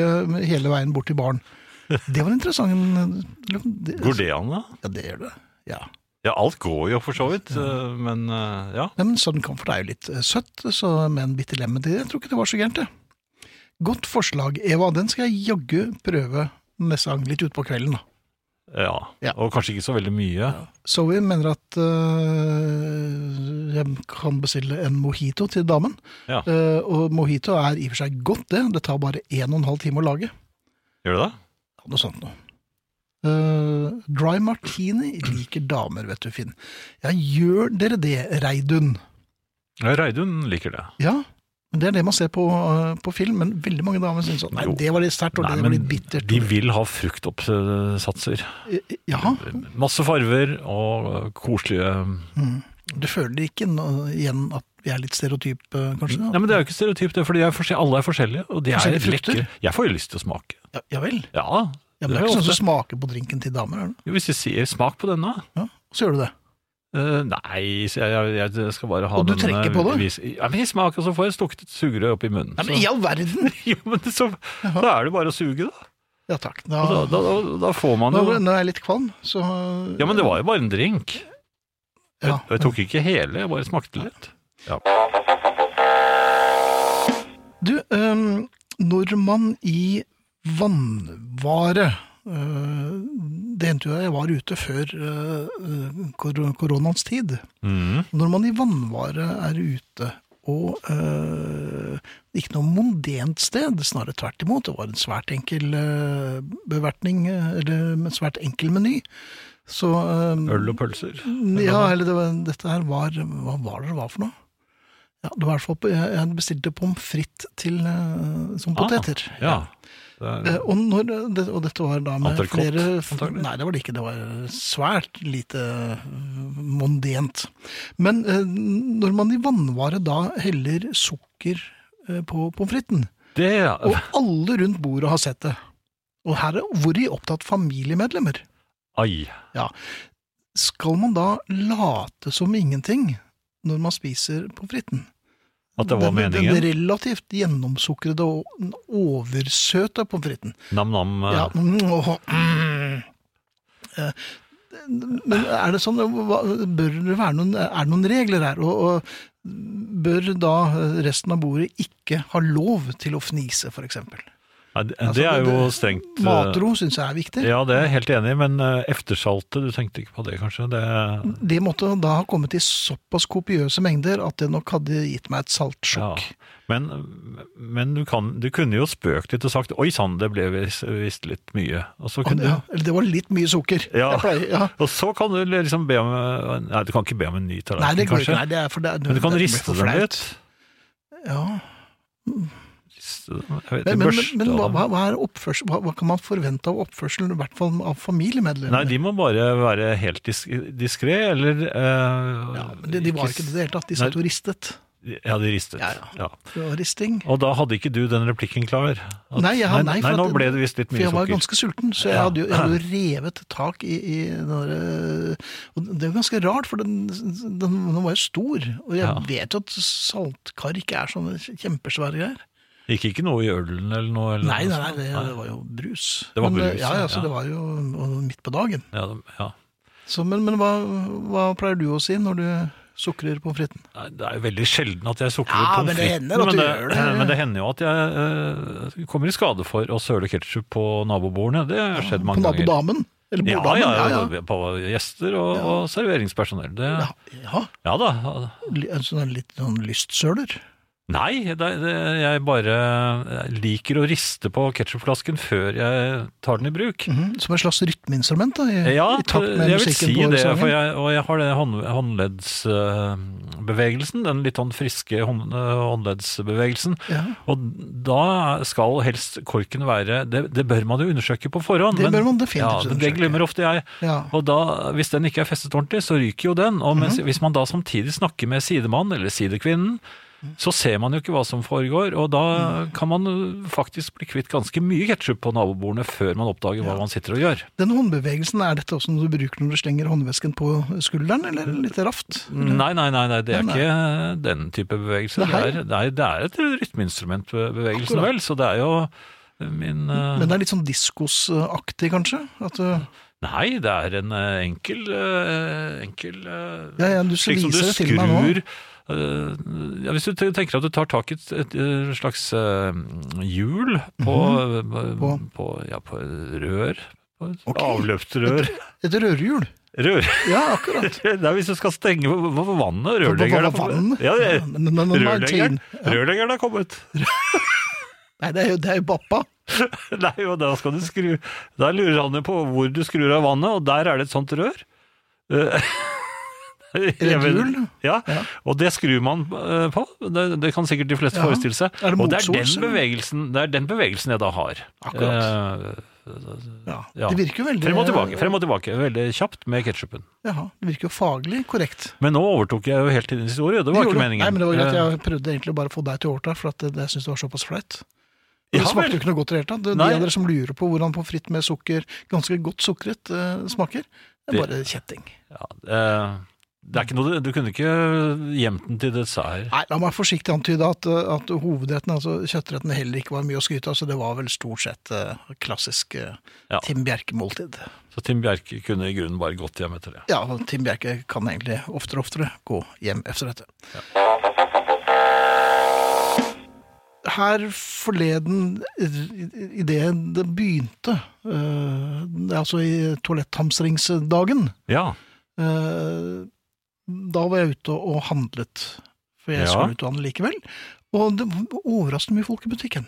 [SPEAKER 2] hele veien bort til baren. Det var interessant. eh, Det,
[SPEAKER 3] Går det an, da?
[SPEAKER 2] Ja, det gjør det. Ja.
[SPEAKER 3] Ja, alt går jo for så vidt, eh, men eh, ja.
[SPEAKER 2] Nei, men Southern Comfort er jo litt eh, søtt, så med en Bitter Lemon til det, jeg tror ikke det var så gærent, det. Godt forslag, Eva. Den skal jeg jaggu prøve neste gang, litt utpå kvelden, da.
[SPEAKER 3] ja.
[SPEAKER 2] Ja.
[SPEAKER 3] Og kanskje ikke så veldig mye.
[SPEAKER 2] Zoe mener at øh, jeg kan bestille en mojito til damen.
[SPEAKER 3] Ja.
[SPEAKER 2] Eh, og mojito er i og for seg godt, det. Det tar bare en og en halv time å lage.
[SPEAKER 3] Gjør det det?
[SPEAKER 2] Noe sånt noe. Eh, dry martini liker damer, vet du, Finn. Ja, gjør dere det, Reidun?
[SPEAKER 3] Ja, Reidun liker det.
[SPEAKER 2] Ja, men det er det man ser på, eh, på film, men veldig mange damer syns sånn. Nei,
[SPEAKER 3] Jo.
[SPEAKER 2] det var litt sterkt, og
[SPEAKER 3] Nei,
[SPEAKER 2] det var
[SPEAKER 3] men
[SPEAKER 2] litt bittert.
[SPEAKER 3] De vil ha fruktoppsatser.
[SPEAKER 2] Eh, Ja,
[SPEAKER 3] Masse farver og koselige
[SPEAKER 2] du føler ikke nå igjen at vi er litt stereotype, eh, kanskje?
[SPEAKER 3] Nei, men Det er jo ikke stereotypt, det er fordi jeg er forskjell- alle er forskjellige, og de er
[SPEAKER 2] Forskjellige frukter?
[SPEAKER 3] lekre. Jeg får jo lyst til å smake.
[SPEAKER 2] Ja, ja vel.
[SPEAKER 3] Ja,
[SPEAKER 2] Ja, men det
[SPEAKER 3] det er
[SPEAKER 2] er ikke
[SPEAKER 3] jo
[SPEAKER 2] sånn
[SPEAKER 3] ofte.
[SPEAKER 2] som smaker på drinken til damer, er det?
[SPEAKER 3] Jo, Hvis de sier 'smak på denne'
[SPEAKER 2] Ja, så gjør du det.
[SPEAKER 3] Eh, nei, så jeg, jeg, jeg skal bare ha
[SPEAKER 2] Og du
[SPEAKER 3] den,
[SPEAKER 2] trekker
[SPEAKER 3] eh,
[SPEAKER 2] på det?
[SPEAKER 3] vis- Ja, men jeg smaker, så får jeg stukket et sugerør opp i munnen.
[SPEAKER 2] Nei, men
[SPEAKER 3] så-
[SPEAKER 2] i all verden!
[SPEAKER 3] <laughs> Jo, men det- så, da er det bare å suge, da.
[SPEAKER 2] Ja takk. Da,
[SPEAKER 3] Og Da, da, da, da får man
[SPEAKER 2] nå,
[SPEAKER 3] jo
[SPEAKER 2] nå er jeg litt kvalm, så
[SPEAKER 3] Ja, men det var jo bare en drink.
[SPEAKER 2] Ja.
[SPEAKER 3] Og jeg tok ikke hele, jeg bare smakte litt.
[SPEAKER 2] Du, øhm, nordmann i vannvare. Øh, det endte jo jeg var ute før øh, øh, kor koronaens tid.
[SPEAKER 3] Mhm.
[SPEAKER 2] Nordmann i vannvare er ute, og øh, ikke noe mondent sted, snarere tvert imot. Det var en svært enkel øh, bevertning, øh, eller en svært enkel meny. Så eh, øhm,
[SPEAKER 3] Øl og pølser.
[SPEAKER 2] Ja, eller det var, dette her var Hva var det det var for noe? Ja, det var i hvert fall på- Jeg jeg bestilte pommes frites til eh, som poteter.
[SPEAKER 3] Ah, ja. Det
[SPEAKER 2] Eh,
[SPEAKER 3] er,
[SPEAKER 2] Og, når, det, og dette var da med
[SPEAKER 3] Entrecôte,
[SPEAKER 2] flere
[SPEAKER 3] antagelig.
[SPEAKER 2] Nei, det var det ikke. Det var svært lite eh, mondent. Men eh, når man i vannvare da heller sukker eh, på pommes fritesen,
[SPEAKER 3] det
[SPEAKER 2] og alle rundt bordet har sett det Og her er hvori opptatt familiemedlemmer.
[SPEAKER 3] Ai.
[SPEAKER 2] Skal man da late som ingenting når man spiser pommes fritesen?
[SPEAKER 3] At det var
[SPEAKER 2] Den- Den
[SPEAKER 3] meningen.
[SPEAKER 2] relativt gjennomsukrede og oversøte pommes fritesen.
[SPEAKER 3] Nam-nam. eh,
[SPEAKER 2] Ja. mm, åh, mm. Eh, Men er det sånn hva- bør det være noen, Er det noen regler her? Og, og bør da resten av bordet ikke ha lov til å fnise, f.eks.?
[SPEAKER 3] nei, det,
[SPEAKER 2] Altså,
[SPEAKER 3] det er
[SPEAKER 2] det-
[SPEAKER 3] jo strengt eh,
[SPEAKER 2] Matro syns jeg er viktig.
[SPEAKER 3] Ja, det er jeg helt enig i, men eh, eftersaltet, du tenkte ikke på det kanskje? Det,
[SPEAKER 2] Det måtte da ha kommet i såpass kopiøse mengder at det nok hadde gitt meg et
[SPEAKER 3] ja.
[SPEAKER 2] saltsjokk.
[SPEAKER 3] Men, men du, kan, du kunne jo spøkt litt og sagt 'oi sann, det ble vis- visst litt mye'. Og så, kunne,
[SPEAKER 2] Ja, eller det var litt mye sukker.
[SPEAKER 3] Ja.
[SPEAKER 2] Jeg pleier, ja.
[SPEAKER 3] du- og så kan du liksom be om eh, Nei, du kan ikke be om en
[SPEAKER 2] Nei,
[SPEAKER 3] ny tallerken,
[SPEAKER 2] det går ikke.
[SPEAKER 3] kanskje.
[SPEAKER 2] Nei, det er for det, er-
[SPEAKER 3] men du kan
[SPEAKER 2] det blir for
[SPEAKER 3] riste den
[SPEAKER 2] flaut.
[SPEAKER 3] litt.
[SPEAKER 2] Ja.
[SPEAKER 3] Riste dem, Jeg
[SPEAKER 2] Men,
[SPEAKER 3] vet,
[SPEAKER 2] men, men,
[SPEAKER 3] børste
[SPEAKER 2] men hva,
[SPEAKER 3] av dem.
[SPEAKER 2] hva, hva er oppførsel, hva, hva kan man forvente av oppførsel, i hvert fall av familiemedlemmer?
[SPEAKER 3] Nei, de må bare være helt dis diskré, eller eh,
[SPEAKER 2] ja, men de, de var ikke det i det hele tatt. De satt og ristet.
[SPEAKER 3] Ja, de ristet.
[SPEAKER 2] Ja,
[SPEAKER 3] Ja.
[SPEAKER 2] Det var risting.
[SPEAKER 3] Og da hadde ikke du den replikken klar? At,
[SPEAKER 2] Nei, jeg har- nei, for
[SPEAKER 3] nei, nå
[SPEAKER 2] at-
[SPEAKER 3] ble det visst litt
[SPEAKER 2] For
[SPEAKER 3] mye
[SPEAKER 2] jeg var
[SPEAKER 3] sukker.
[SPEAKER 2] ganske sulten, så jeg
[SPEAKER 3] Ja.
[SPEAKER 2] hadde jo, jeg
[SPEAKER 3] <laughs>
[SPEAKER 2] hadde jo revet tak i, i den der, eh, Og det er jo ganske rart, for den, den, den var jo stor. Og jeg
[SPEAKER 3] Ja.
[SPEAKER 2] vet jo at saltkar ikke er sånne kjempesvære greier.
[SPEAKER 3] Gikk ikke noe i ølen eller noe? Eller
[SPEAKER 2] Nei,
[SPEAKER 3] noe
[SPEAKER 2] nei, nei,
[SPEAKER 3] sånt?
[SPEAKER 2] det, det var jo brus.
[SPEAKER 3] Det var
[SPEAKER 2] Men,
[SPEAKER 3] brus,
[SPEAKER 2] ja, ja, så
[SPEAKER 3] ja.
[SPEAKER 2] det var jo og midt på dagen.
[SPEAKER 3] Ja, det- ja.
[SPEAKER 2] Så, men men hva, hva pleier du å si når du sukrer pommes fritesen?
[SPEAKER 3] Nei, Det er jo veldig sjelden at jeg sukrer
[SPEAKER 2] Ja,
[SPEAKER 3] pommes
[SPEAKER 2] men det
[SPEAKER 3] fritesen,
[SPEAKER 2] hender at
[SPEAKER 3] men,
[SPEAKER 2] du
[SPEAKER 3] det-
[SPEAKER 2] gjør det.
[SPEAKER 3] <laughs> men det hender jo at jeg eh, kommer i skade for å søle ketsjup på nabobordene. Det har skjedd
[SPEAKER 2] På
[SPEAKER 3] mange ganger.
[SPEAKER 2] nabodamen? Eller
[SPEAKER 3] Ja,
[SPEAKER 2] bordamen?
[SPEAKER 3] ja,
[SPEAKER 2] Ja, ja.
[SPEAKER 3] På gjester og, og serveringspersonell. Det,
[SPEAKER 2] ja.
[SPEAKER 3] ja.
[SPEAKER 2] ja.
[SPEAKER 3] da.
[SPEAKER 2] li- en sånn litt sånn lystsøler.
[SPEAKER 3] Nei, det, det, jeg bare liker å riste på ketsjupflasken før jeg tar den i bruk.
[SPEAKER 2] Mhm, Som et slags rytmeinstrument, da? I,
[SPEAKER 3] Ja,
[SPEAKER 2] i takt med
[SPEAKER 3] jeg vil
[SPEAKER 2] musikken
[SPEAKER 3] si
[SPEAKER 2] på
[SPEAKER 3] det,
[SPEAKER 2] sangen.
[SPEAKER 3] for jeg, og jeg har den hånd, håndleddsbevegelsen, den litt sånn friske hånd, håndleddsbevegelsen.
[SPEAKER 2] Ja.
[SPEAKER 3] Og da skal helst korken være Det, det bør man jo undersøke på forhånd.
[SPEAKER 2] Det
[SPEAKER 3] men-
[SPEAKER 2] bør man definitivt
[SPEAKER 3] ja, men Det
[SPEAKER 2] undersøke.
[SPEAKER 3] glemmer ofte jeg.
[SPEAKER 2] Ja.
[SPEAKER 3] Og da, hvis den ikke er festet ordentlig, så ryker jo den. Og
[SPEAKER 2] Mhm.
[SPEAKER 3] mens, hvis man da samtidig snakker med sidemannen eller sidekvinnen,
[SPEAKER 2] Mhm.
[SPEAKER 3] så ser man jo ikke hva som foregår, og da kan man jo faktisk bli kvitt ganske mye ketsjup på nabobordene før man oppdager hva man sitter og gjør.
[SPEAKER 2] Denne håndbevegelsen, er dette også noe du bruker når du slenger håndvesken på skulderen, eller litt raft?
[SPEAKER 3] Nei, nei, nei, nei det er
[SPEAKER 2] Mm. Nei, nei.
[SPEAKER 3] ikke eh, den type bevegelse.
[SPEAKER 2] Nei.
[SPEAKER 3] Det er, nei, det er et rytmeinstrumentbevegelsen,
[SPEAKER 2] Akkurat.
[SPEAKER 3] vel, så det er jo min eh,
[SPEAKER 2] Men det er litt sånn diskosaktig, kanskje? At øh, du,
[SPEAKER 3] Nei, det er en eh, enkel, eh, enkel eh,
[SPEAKER 2] ja, ja, du skal
[SPEAKER 3] Slik som du
[SPEAKER 2] vise det til meg nå.
[SPEAKER 3] skrur eh, ja, Hvis du te- tenker at du tar tak i et, et, eh, slags eh, hjul på, eh, på.
[SPEAKER 2] Mhm. På?
[SPEAKER 3] ja, på rør på et
[SPEAKER 2] Ok.
[SPEAKER 3] Avløpsrør.
[SPEAKER 2] Et rørhjul.
[SPEAKER 3] Rør.
[SPEAKER 2] Ja,
[SPEAKER 3] <laughs>
[SPEAKER 2] akkurat.
[SPEAKER 3] Det er hvis du skal stenge for, for for vannet.
[SPEAKER 2] Hva- hva- hva-
[SPEAKER 3] Rørleggeren er på-
[SPEAKER 2] vann?
[SPEAKER 3] Ja, det-
[SPEAKER 2] Ja, men- men- men- men-
[SPEAKER 3] Rørleggeren
[SPEAKER 2] Ja.
[SPEAKER 3] Rørleggeren er kommet.
[SPEAKER 2] Nei, det er jo, det er jo Bappa.
[SPEAKER 3] <laughs> Nei, og da skal du skru Da lurer han jo på hvor du skrur av vannet, og der er det et sånt rør. <laughs> Eh, jeg vet-
[SPEAKER 2] hjul?
[SPEAKER 3] Ja,
[SPEAKER 2] Ja.
[SPEAKER 3] og det skrur man eh, på. Det, det kan sikkert de fleste
[SPEAKER 2] Ja.
[SPEAKER 3] forestille seg.
[SPEAKER 2] Er det
[SPEAKER 3] og det er,
[SPEAKER 2] motsols,
[SPEAKER 3] den
[SPEAKER 2] eller?
[SPEAKER 3] bevegelsen, det er den bevegelsen jeg da har.
[SPEAKER 2] Akkurat.
[SPEAKER 3] Eh,
[SPEAKER 2] Ja.
[SPEAKER 3] Ja.
[SPEAKER 2] Det virker jo veldig
[SPEAKER 3] frem og tilbake, frem og tilbake, veldig kjapt med ketsjupen.
[SPEAKER 2] Jaha, det virker jo faglig korrekt.
[SPEAKER 3] Men nå overtok jeg jo helt din historie, det var
[SPEAKER 2] gjorde
[SPEAKER 3] ikke
[SPEAKER 2] du.
[SPEAKER 3] meningen.
[SPEAKER 2] Nei, men det var greit.
[SPEAKER 3] Eh,
[SPEAKER 2] Jeg prøvde egentlig bare å få deg til å overta, for at det, det syntes det var såpass flaut. Og
[SPEAKER 3] Eh, Ja
[SPEAKER 2] Det
[SPEAKER 3] vel.
[SPEAKER 2] smakte jo ikke noe godt i det hele tatt. Det-
[SPEAKER 3] Nei.
[SPEAKER 2] De av dere som lurer på hvordan pommes frites med sukker, ganske godt sukret, eh, smaker, det er
[SPEAKER 3] Det-
[SPEAKER 2] bare kjetting.
[SPEAKER 3] ja, eh, det er ikke noe, du kunne ikke gjemt den til dessert.
[SPEAKER 2] Nei, la meg forsiktig antyde at, eh, at hovedretten, altså kjøttretten, heller ikke var mye å skryte av, så det var vel stort sett eh, klassisk eh,
[SPEAKER 3] Ja.
[SPEAKER 2] Tim Bjerke-måltid.
[SPEAKER 3] Så Tim Bjerke kunne i grunnen bare gått hjem etter det.
[SPEAKER 2] Ja, og Tim Bjerke kan egentlig oftere og oftere gå hjem etter dette. Her forleden, idet det begynte, øh, det er altså i toaletthamstringsdagen,
[SPEAKER 3] Ja,
[SPEAKER 2] øh, da var jeg ute og handlet. For jeg
[SPEAKER 3] Ja.
[SPEAKER 2] skulle ut og handle likevel. Og det var overraskende mye folk i butikken.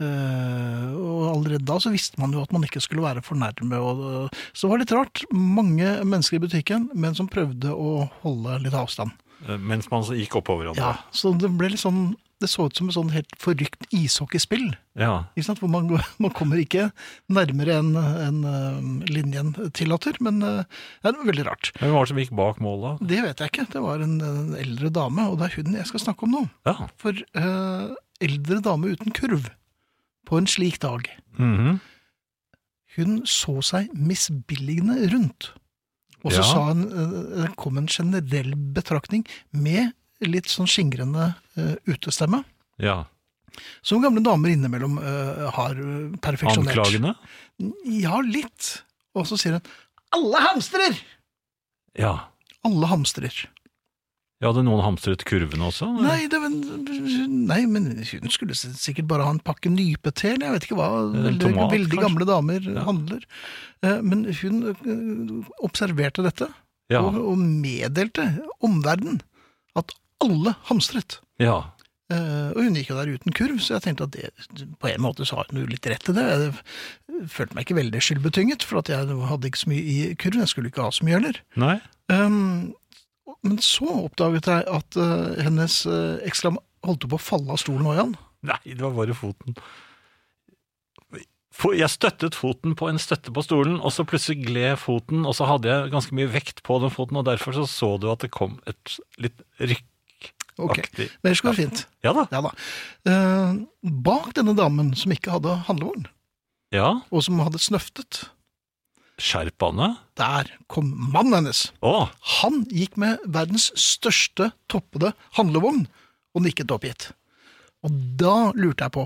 [SPEAKER 2] Eh, og allerede da så visste man jo at man ikke skulle være for nærme. Og, så det var litt rart. Mange mennesker i butikken, men som prøvde å holde litt avstand.
[SPEAKER 3] eh, mens man så gikk oppover hverandre.
[SPEAKER 2] Ja, Så det ble litt sånn Det så ut som et sånn helt forrykt ishockeyspill.
[SPEAKER 3] Ja.
[SPEAKER 2] Ikke sant? Hvor man, går- <laughs> man kommer ikke nærmere enn enn, eh, linjen tillater. Men eh, det er veldig rart.
[SPEAKER 3] Hvem var det som gikk bak måla?
[SPEAKER 2] Det vet jeg ikke. Det var en, en eldre dame, og det er hun jeg skal snakke om nå.
[SPEAKER 3] Ja.
[SPEAKER 2] For eh, eldre dame uten kurv på en slik dag.
[SPEAKER 3] Mhm.
[SPEAKER 2] Hun så seg misbilligende rundt. Og så
[SPEAKER 3] Ja.
[SPEAKER 2] sa hun, eh, det kom en generell betraktning med litt sånn skingrende eh, utestemme.
[SPEAKER 3] ja.
[SPEAKER 2] Som gamle damer innimellom eh, har eh, perfeksjonert.
[SPEAKER 3] Anklagende?
[SPEAKER 2] Ja, litt. Og så sier hun 'alle hamstrer'!
[SPEAKER 3] Ja.
[SPEAKER 2] Alle hamstrer.
[SPEAKER 3] ja. Hadde noen hamstret kurvene også?
[SPEAKER 2] Nei, det, var- nei, men hun skulle s- sikkert bare ha en pakke nypete, eller jeg vet ikke hva.
[SPEAKER 3] En
[SPEAKER 2] Veldig,
[SPEAKER 3] tomat,
[SPEAKER 2] veldig
[SPEAKER 3] kanskje?
[SPEAKER 2] gamle damer handler. Eh, Men hun eh, observerte dette,
[SPEAKER 3] Ja.
[SPEAKER 2] og, og meddelte omverdenen at alle hamstret.
[SPEAKER 3] ja.
[SPEAKER 2] Eh, Og hun gikk jo der uten kurv, så jeg tenkte at det, på en måte så har hun jo litt rett til det. Jeg følte meg ikke veldig skyldbetynget, for at jeg hadde ikke så mye i kurv. Jeg skulle ikke ha så mye heller.
[SPEAKER 3] Nei?
[SPEAKER 2] Um, men så oppdaget jeg at eh, hennes uh, eksklam holdt på å falle av stolen òg, Jan.
[SPEAKER 3] Nei, det var bare foten. For jeg støttet foten på en støtte på stolen, og så plutselig gled foten, og så hadde jeg ganske mye vekt på den foten, og derfor så, så du at det kom et litt rykkaktig
[SPEAKER 2] Ok, Men ellers går det fint.
[SPEAKER 3] Ja da.
[SPEAKER 2] Ja da. Eh, bak denne damen som ikke hadde handlevogn,
[SPEAKER 3] Ja.
[SPEAKER 2] og som hadde snøftet,
[SPEAKER 3] Skjerpene.
[SPEAKER 2] der kom mannen hennes.
[SPEAKER 3] Å!
[SPEAKER 2] Han gikk med verdens største toppede handlevogn og nikket oppgitt. Og da lurte jeg på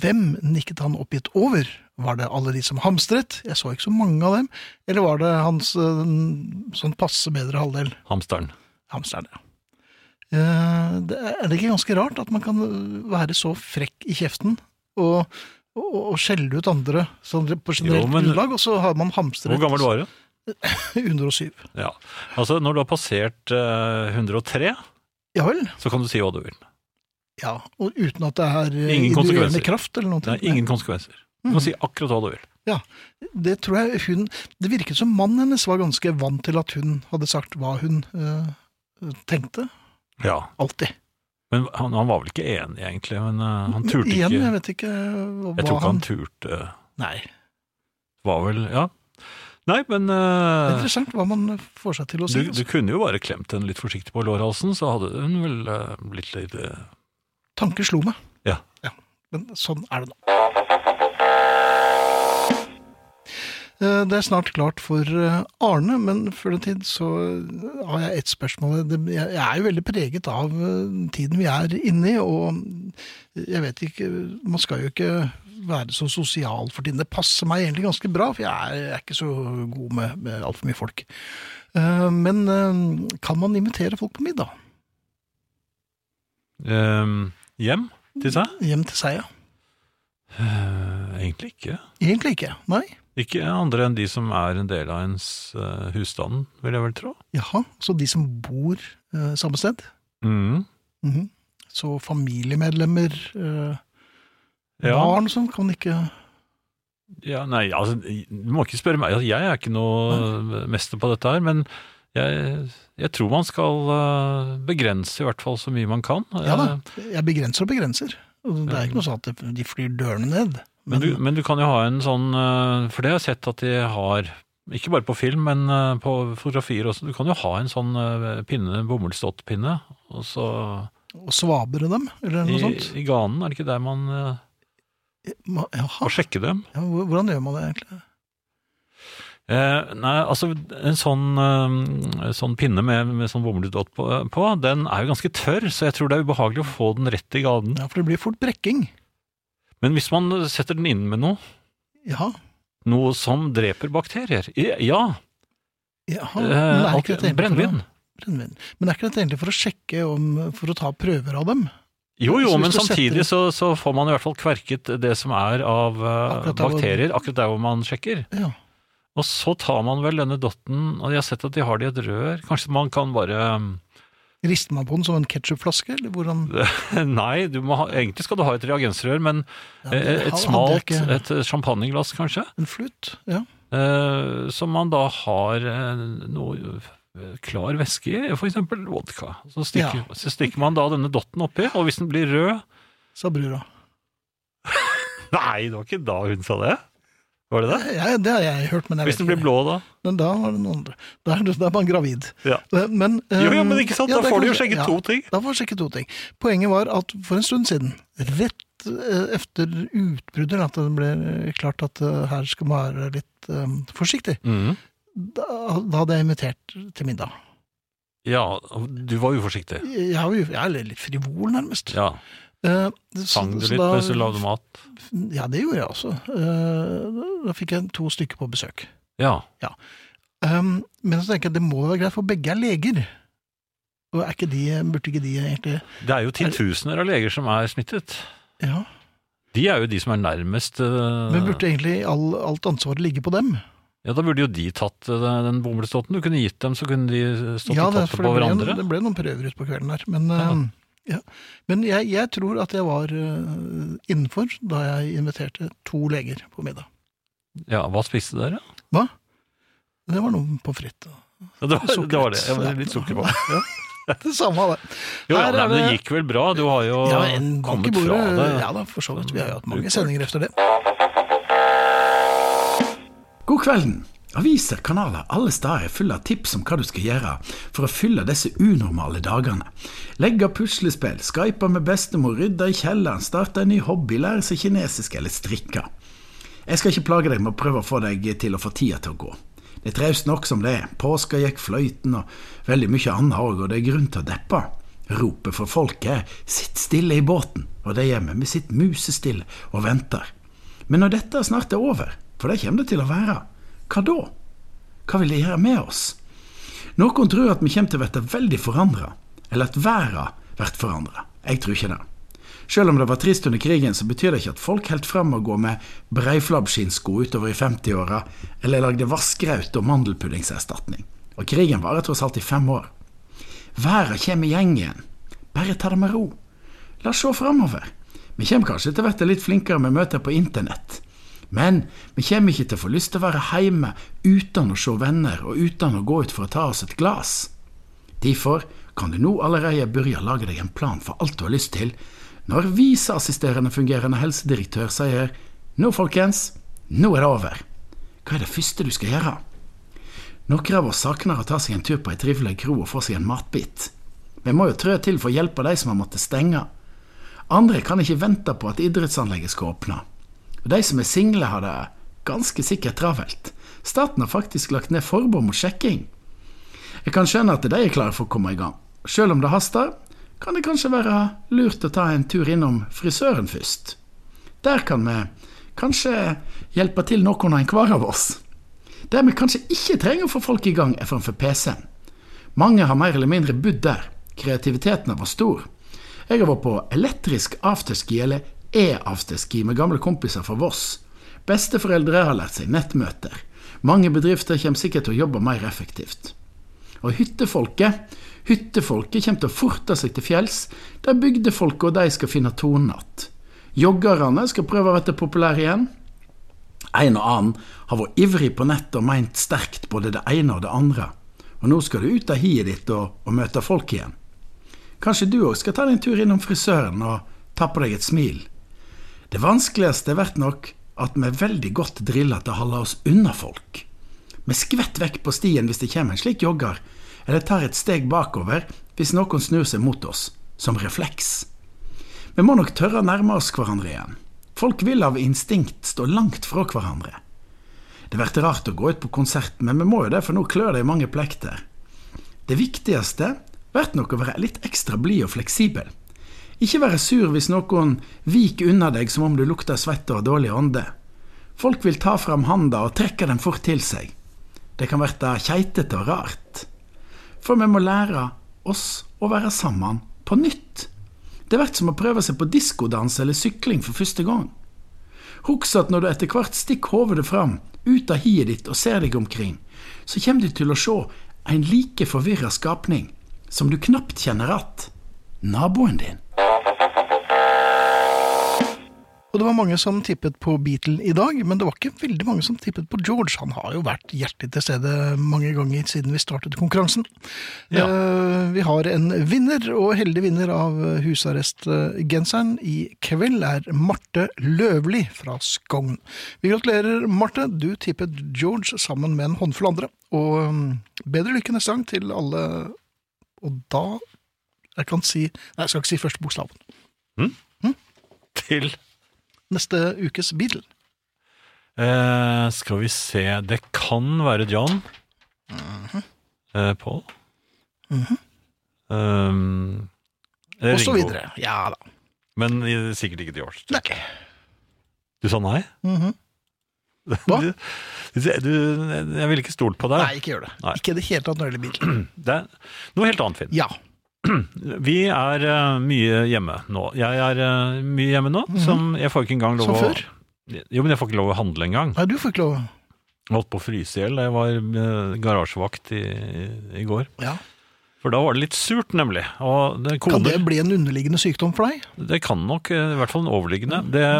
[SPEAKER 2] hvem nikket han oppgitt over? Var det alle de som hamstret? Jeg så ikke så mange av dem. Eller var det hans eh, sånn passe bedre halvdel,
[SPEAKER 3] Hamsteren.
[SPEAKER 2] hamsteren? Ja. Eh, det er er det ikke ganske rart at man kan være så frekk i kjeften og, og, og skjelle ut andre sånn på generelt
[SPEAKER 3] men-
[SPEAKER 2] grunnlag, og så har man hamstret <laughs>
[SPEAKER 3] Hvor gammel var du?
[SPEAKER 2] 107.
[SPEAKER 3] Ja. Altså, når du har passert eh, 103,
[SPEAKER 2] Ja vel?
[SPEAKER 3] så kan du si hva du vil.
[SPEAKER 2] Ja, og uten at det er eh,
[SPEAKER 3] Ingen konsekvenser.
[SPEAKER 2] ideerende kraft eller noe.
[SPEAKER 3] Det er ingen konsekvenser. Du
[SPEAKER 2] Mhm.
[SPEAKER 3] kan si akkurat hva du vil.
[SPEAKER 2] Ja, det tror jeg hun Det virket som mannen hennes var ganske vant til at hun hadde sagt hva hun eh, tenkte.
[SPEAKER 3] Ja.
[SPEAKER 2] Alltid.
[SPEAKER 3] Men han, han var vel ikke enig, egentlig. Men eh, han turte
[SPEAKER 2] Igjen,
[SPEAKER 3] ikke.
[SPEAKER 2] jeg vet ikke hva
[SPEAKER 3] Jeg tror ikke han
[SPEAKER 2] han
[SPEAKER 3] turte. eh,
[SPEAKER 2] Nei.
[SPEAKER 3] Var vel Ja. Nei, men
[SPEAKER 2] Det er
[SPEAKER 3] eh,
[SPEAKER 2] interessant hva man får seg til å
[SPEAKER 3] du,
[SPEAKER 2] si.
[SPEAKER 3] du
[SPEAKER 2] altså.
[SPEAKER 3] kunne jo bare klemt henne litt forsiktig på lårhalsen, så hadde hun vel eh, blitt litt eh,
[SPEAKER 2] Tanker slo meg.
[SPEAKER 3] Ja.
[SPEAKER 2] Men sånn er det nå. Eh, Det er snart klart for eh, Arne, men før den tid så eh, har jeg ett spørsmål. Det- Jeg jeg er jo veldig preget av eh, tiden vi er inne i, og jeg vet ikke Man skal jo ikke være så sosial for tiden. Det passer meg egentlig ganske bra, for jeg er, jeg er ikke så god med, med altfor mye folk. Eh, Men eh, kan man invitere folk på middag?
[SPEAKER 3] eh, hjem til seg?
[SPEAKER 2] Hjem til seg, ja. Mm.
[SPEAKER 3] Eh, egentlig ikke.
[SPEAKER 2] Egentlig ikke. Nei.
[SPEAKER 3] Ikke andre enn de som er en del av ens eh, husstand, vil jeg vel tro.
[SPEAKER 2] Jaha, så de som bor eh, samme sted?
[SPEAKER 3] Mm.
[SPEAKER 2] Mhm. Så familiemedlemmer eh,
[SPEAKER 3] Ja,
[SPEAKER 2] Barn som kan ikke
[SPEAKER 3] ja, nei, altså, du må ikke spørre meg. Altså, Jeg er ikke noe eh, mester på dette her, men jeg, jeg tror man skal eh, begrense i hvert fall så mye man kan. Eh,
[SPEAKER 2] Ja da, jeg begrenser og begrenser. Og Det er ikke noe sånn at de flyr dørene ned.
[SPEAKER 3] Mm. Men du, men du kan jo ha en sånn eh, For det har jeg sett at de har, ikke bare på film, men eh, på fotografier også, du kan jo ha en sånn eh, pinne, bomullsdottpinne, og så
[SPEAKER 2] og svabre dem, eller
[SPEAKER 3] i,
[SPEAKER 2] noe sånt.
[SPEAKER 3] i ganen, er det ikke der man eh,
[SPEAKER 2] Ma- Jaha,
[SPEAKER 3] må sjekke dem?
[SPEAKER 2] ja, hvor- hvordan gjør man det egentlig?
[SPEAKER 3] Eh, nei, altså en sånn, eh, sånn pinne med, med sånn bomullsdott på, på, den er jo ganske tørr, så jeg tror det er ubehagelig å få den rett i ganen.
[SPEAKER 2] Ja, For det blir fort brekking.
[SPEAKER 3] Men hvis man setter den inn med noe,
[SPEAKER 2] Jaha.
[SPEAKER 3] noe som dreper bakterier, i- ja,
[SPEAKER 2] jaha. Men
[SPEAKER 3] eh,
[SPEAKER 2] er ikke dette
[SPEAKER 3] alt-
[SPEAKER 2] egentlig for å-
[SPEAKER 3] brennevin.
[SPEAKER 2] Brennevin. Men er ikke dette egentlig for å sjekke om For å ta prøver av dem?
[SPEAKER 3] Jo, jo,
[SPEAKER 2] Så hvis
[SPEAKER 3] men
[SPEAKER 2] du setter
[SPEAKER 3] samtidig
[SPEAKER 2] det-
[SPEAKER 3] så, så får man i hvert fall kverket det som er av eh,
[SPEAKER 2] Akkurat der hvor-
[SPEAKER 3] bakterier, akkurat der hvor man sjekker.
[SPEAKER 2] Ja.
[SPEAKER 3] Og så tar man vel denne dotten, og jeg har sett at de har det i et rør. Kanskje man kan bare
[SPEAKER 2] Rister man på den som en ketsjupflaske, eller hvordan
[SPEAKER 3] <laughs> Nei, du må ha, egentlig skal du ha et reagensrør, men
[SPEAKER 2] Ja,
[SPEAKER 3] eh,
[SPEAKER 2] det
[SPEAKER 3] et
[SPEAKER 2] hadde jeg
[SPEAKER 3] smalt
[SPEAKER 2] ikke.
[SPEAKER 3] et champagneglass, kanskje,
[SPEAKER 2] En flut? Ja.
[SPEAKER 3] eh, som man da har eh, noe eh, klar væske i, for eksempel vodka. Så stikker, så stikker man da denne dotten oppi, og hvis den blir rød
[SPEAKER 2] Sa brura.
[SPEAKER 3] Nei, det var ikke da hun sa det. Var det det?
[SPEAKER 2] Ja, det har jeg hørt, men jeg
[SPEAKER 3] Hvis
[SPEAKER 2] vet
[SPEAKER 3] den blir
[SPEAKER 2] ikke.
[SPEAKER 3] blå, da?
[SPEAKER 2] Men da var det noen andre. Da er, da er man gravid.
[SPEAKER 3] Ja.
[SPEAKER 2] Men,
[SPEAKER 3] Jo, jo,
[SPEAKER 2] eh,
[SPEAKER 3] men ikke sant?
[SPEAKER 2] ja,
[SPEAKER 3] Da
[SPEAKER 2] det
[SPEAKER 3] får
[SPEAKER 2] kan
[SPEAKER 3] du jo
[SPEAKER 2] skje.
[SPEAKER 3] sjekke
[SPEAKER 2] Ja.
[SPEAKER 3] to ting.
[SPEAKER 2] Da får vi sjekke to ting. Poenget var at for en stund siden, rett eh, efter utbruddet, at det ble eh, klart at eh, her skal man være litt eh, forsiktig,
[SPEAKER 3] Mm.
[SPEAKER 2] da, da hadde jeg invitert til middag.
[SPEAKER 3] Ja, du var uforsiktig.
[SPEAKER 2] Jeg er jo jeg er litt frivol, nærmest.
[SPEAKER 3] Ja,
[SPEAKER 2] Eh,
[SPEAKER 3] Sang du
[SPEAKER 2] så
[SPEAKER 3] litt
[SPEAKER 2] da-
[SPEAKER 3] mens du lagde mat?
[SPEAKER 2] Ja, det gjorde jeg også. Eh, da fikk jeg to stykker på besøk.
[SPEAKER 3] Ja.
[SPEAKER 2] Um, men så tenker jeg at det må være greit, for begge er leger. Og er ikke de, burde ikke de egentlig
[SPEAKER 3] Det er jo titusener av leger som er smittet.
[SPEAKER 2] Ja.
[SPEAKER 3] De er jo de som er nærmest eh,
[SPEAKER 2] Men burde egentlig all, alt ansvaret ligge på dem?
[SPEAKER 3] Ja, da burde jo de tatt eh, den bomullsdotten. Du kunne gitt dem, så kunne de eh, stått
[SPEAKER 2] Ja,
[SPEAKER 3] og
[SPEAKER 2] det,
[SPEAKER 3] tatt
[SPEAKER 2] for
[SPEAKER 3] det på
[SPEAKER 2] det ble,
[SPEAKER 3] hverandre.
[SPEAKER 2] noen- det ble noen prøver utpå kvelden der. Men,
[SPEAKER 3] Ja.
[SPEAKER 2] um, ja. men jeg, jeg tror at jeg var uh, innenfor da jeg inviterte to leger på middag.
[SPEAKER 3] Ja, Hva spiste dere?
[SPEAKER 2] Hva? Det var noe pommes frites.
[SPEAKER 3] Ja, <laughs> det, var,
[SPEAKER 2] Sukker
[SPEAKER 3] det var
[SPEAKER 2] litt.
[SPEAKER 3] det. Jeg var litt sukker på.
[SPEAKER 2] Ja. <laughs> Det samme, det.
[SPEAKER 3] Jo, ja,
[SPEAKER 2] Her
[SPEAKER 3] nei,
[SPEAKER 2] er
[SPEAKER 3] men det
[SPEAKER 2] det-
[SPEAKER 3] gikk vel bra? Du har jo
[SPEAKER 2] Ja, en kokk i
[SPEAKER 3] kommet fra
[SPEAKER 2] bordet.
[SPEAKER 3] det.
[SPEAKER 2] Ja da, for så vidt. Vi har jo hatt mange sendinger efter det.
[SPEAKER 4] God kvelden. Aviser, kanaler, alle steder er fulle av tips om hva du skal gjøre for å fylle disse unormale dagene. Legge puslespill, skype med bestemor, rydde i kjelleren, starte en ny hobby, lære seg kinesisk eller strikke. Jeg skal ikke plage deg med å prøve å få deg til å få tida til å gå. Det er traust nok som det er. Påska gikk fløyten og veldig mye annet òg, og det er grunn til å deppe. Ropet fra folket er 'sitt stille i båten', og det gjør vi. Vi sitter musestille og venter. Men når dette snart er over, for det kommer det til å være, hva da? Hva vil det gjøre med oss? Noen tror at vi kommer til å bli veldig forandra, eller at verden blir forandra. Jeg tror ikke det. Selv om det var trist under krigen, så betyr det ikke at folk helt fram og gå med breiflabbskinnsko utover i 50-åra, eller lagde vassgraut og mandelpuddingserstatning. Og krigen varer tross alt i fem år. Verden kommer i gjeng igjen. Bare ta det med ro. La oss se framover. Vi kommer kanskje til å bli litt flinkere med møter på internett. Men vi kommer ikke til å få lyst til å være hjemme uten å se venner og uten å gå ut for å ta oss et glass. Derfor kan du nå allerede begynne å lage deg en plan for alt du har lyst til, når viseassisterende fungerende helsedirektør sier nå, folkens, nå er det over. Hva er det første du skal gjøre? Noen av oss savner å ta seg en tur på ei trivelig kro og få seg en matbit. Vi må jo trø til for å hjelpe de som har måttet stenge. Andre kan ikke vente på at idrettsanlegget skal åpne. Og de som er single, har det ganske sikkert travelt. Staten har faktisk lagt ned forbud mot sjekking. Jeg kan skjønne at de er klare for å komme i gang. Selv om det haster, kan det kanskje være lurt å ta en tur innom frisøren først. Der kan vi kanskje hjelpe til noen av enhver av oss. Det vi kanskje ikke trenger å få folk i gang, er framfor PC-en. Mange har mer eller mindre bodd der. Kreativiteten har vært stor. Jeg har vært på elektrisk afterski, eller e-afterski, med gamle kompiser fra Voss. Besteforeldre har lært seg nettmøter. Mange bedrifter kommer sikkert til å jobbe mer effektivt. Og hyttefolket Hyttefolket kommer til å forte seg til fjells, der bygdefolket og de skal finne tonen att. Joggerne skal prøve å være populære igjen. En og annen har vært ivrig på nettet og meint sterkt både det ene og det andre. Og nå skal du ut av hiet ditt og, og møte folk igjen. Kanskje du òg skal ta deg en tur innom frisøren og ta på deg et smil. Det vanskeligste blir nok at vi er veldig godt drilla til å holde oss unna folk. Vi skvetter vekk på stien hvis det kommer en slik jogger, eller tar et steg bakover hvis noen snur seg mot oss, som refleks. Vi må nok tørre å nærme oss hverandre igjen. Folk vil av instinkt stå langt fra hverandre. Det blir rart å gå ut på konsert, men vi må jo det, for nå klør det i mange plekter. Det viktigste blir nok å være litt ekstra blid og fleksibel. Ikke være sur hvis noen viker unna deg som om du lukter svette og har dårlig ånde. Folk vil ta fram handa og trekke den fort til seg. Det kan verte keitete og rart. For vi må lære oss å være sammen på nytt. Det blir som å prøve seg på diskodans eller sykling for første gang. Husk at når du etter hvert stikker hovedet fram ut av hiet ditt og ser deg omkring, så kommer du til å se en like forvirra skapning som du knapt kjenner att naboen din.
[SPEAKER 2] Og det var mange som tippet på Beatle i dag, men det var ikke veldig mange som tippet på George. Han har jo vært hjertelig til stede mange ganger siden vi startet konkurransen.
[SPEAKER 3] Ja.
[SPEAKER 2] Eh, vi har en vinner, og heldig vinner av husarrestgenseren i kveld er Marte Løvli fra Skogn. Vi gratulerer, Marte. Du tippet George sammen med en håndfull andre. Og mm, bedre lykke neste gang til alle Og da Jeg kan si Nei, jeg skal ikke si første bokstaven.
[SPEAKER 3] Til
[SPEAKER 2] Neste ukes Beatle.
[SPEAKER 3] eh, Skal vi se Det kan være John.
[SPEAKER 2] Mhm.
[SPEAKER 3] eh, Paul. Um, eh,
[SPEAKER 2] Og så
[SPEAKER 3] Ringo.
[SPEAKER 2] videre. Ja da.
[SPEAKER 3] Men i- sikkert ikke George. tror jeg.
[SPEAKER 2] Nei.
[SPEAKER 3] Du sa nei?
[SPEAKER 2] Mhm. Hva?
[SPEAKER 3] <laughs> Du, du, jeg ville ikke stolt på deg.
[SPEAKER 2] Nei, ikke gjør det.
[SPEAKER 3] Ah. Nei.
[SPEAKER 2] Ikke i det hele tatt når det gjelder bil.
[SPEAKER 3] Det er noe helt annet, Finn.
[SPEAKER 2] Ja.
[SPEAKER 3] Vi er eh, mye hjemme nå. Jeg er eh, mye hjemme nå, som jeg får ikke engang lov
[SPEAKER 2] Mhm. Som
[SPEAKER 3] å
[SPEAKER 2] før?
[SPEAKER 3] Jo, men jeg får ikke lov å handle engang.
[SPEAKER 2] Nei, du får ikke lov.
[SPEAKER 3] Jeg holdt på å fryse i hjel da jeg var eh, garasjevakt i, i går.
[SPEAKER 2] Ja.
[SPEAKER 3] For da var det litt surt, nemlig. Og det,
[SPEAKER 2] Kan
[SPEAKER 3] koner,
[SPEAKER 2] det bli en underliggende sykdom for deg?
[SPEAKER 3] det kan nok, eh, i hvert fall en overliggende. Det,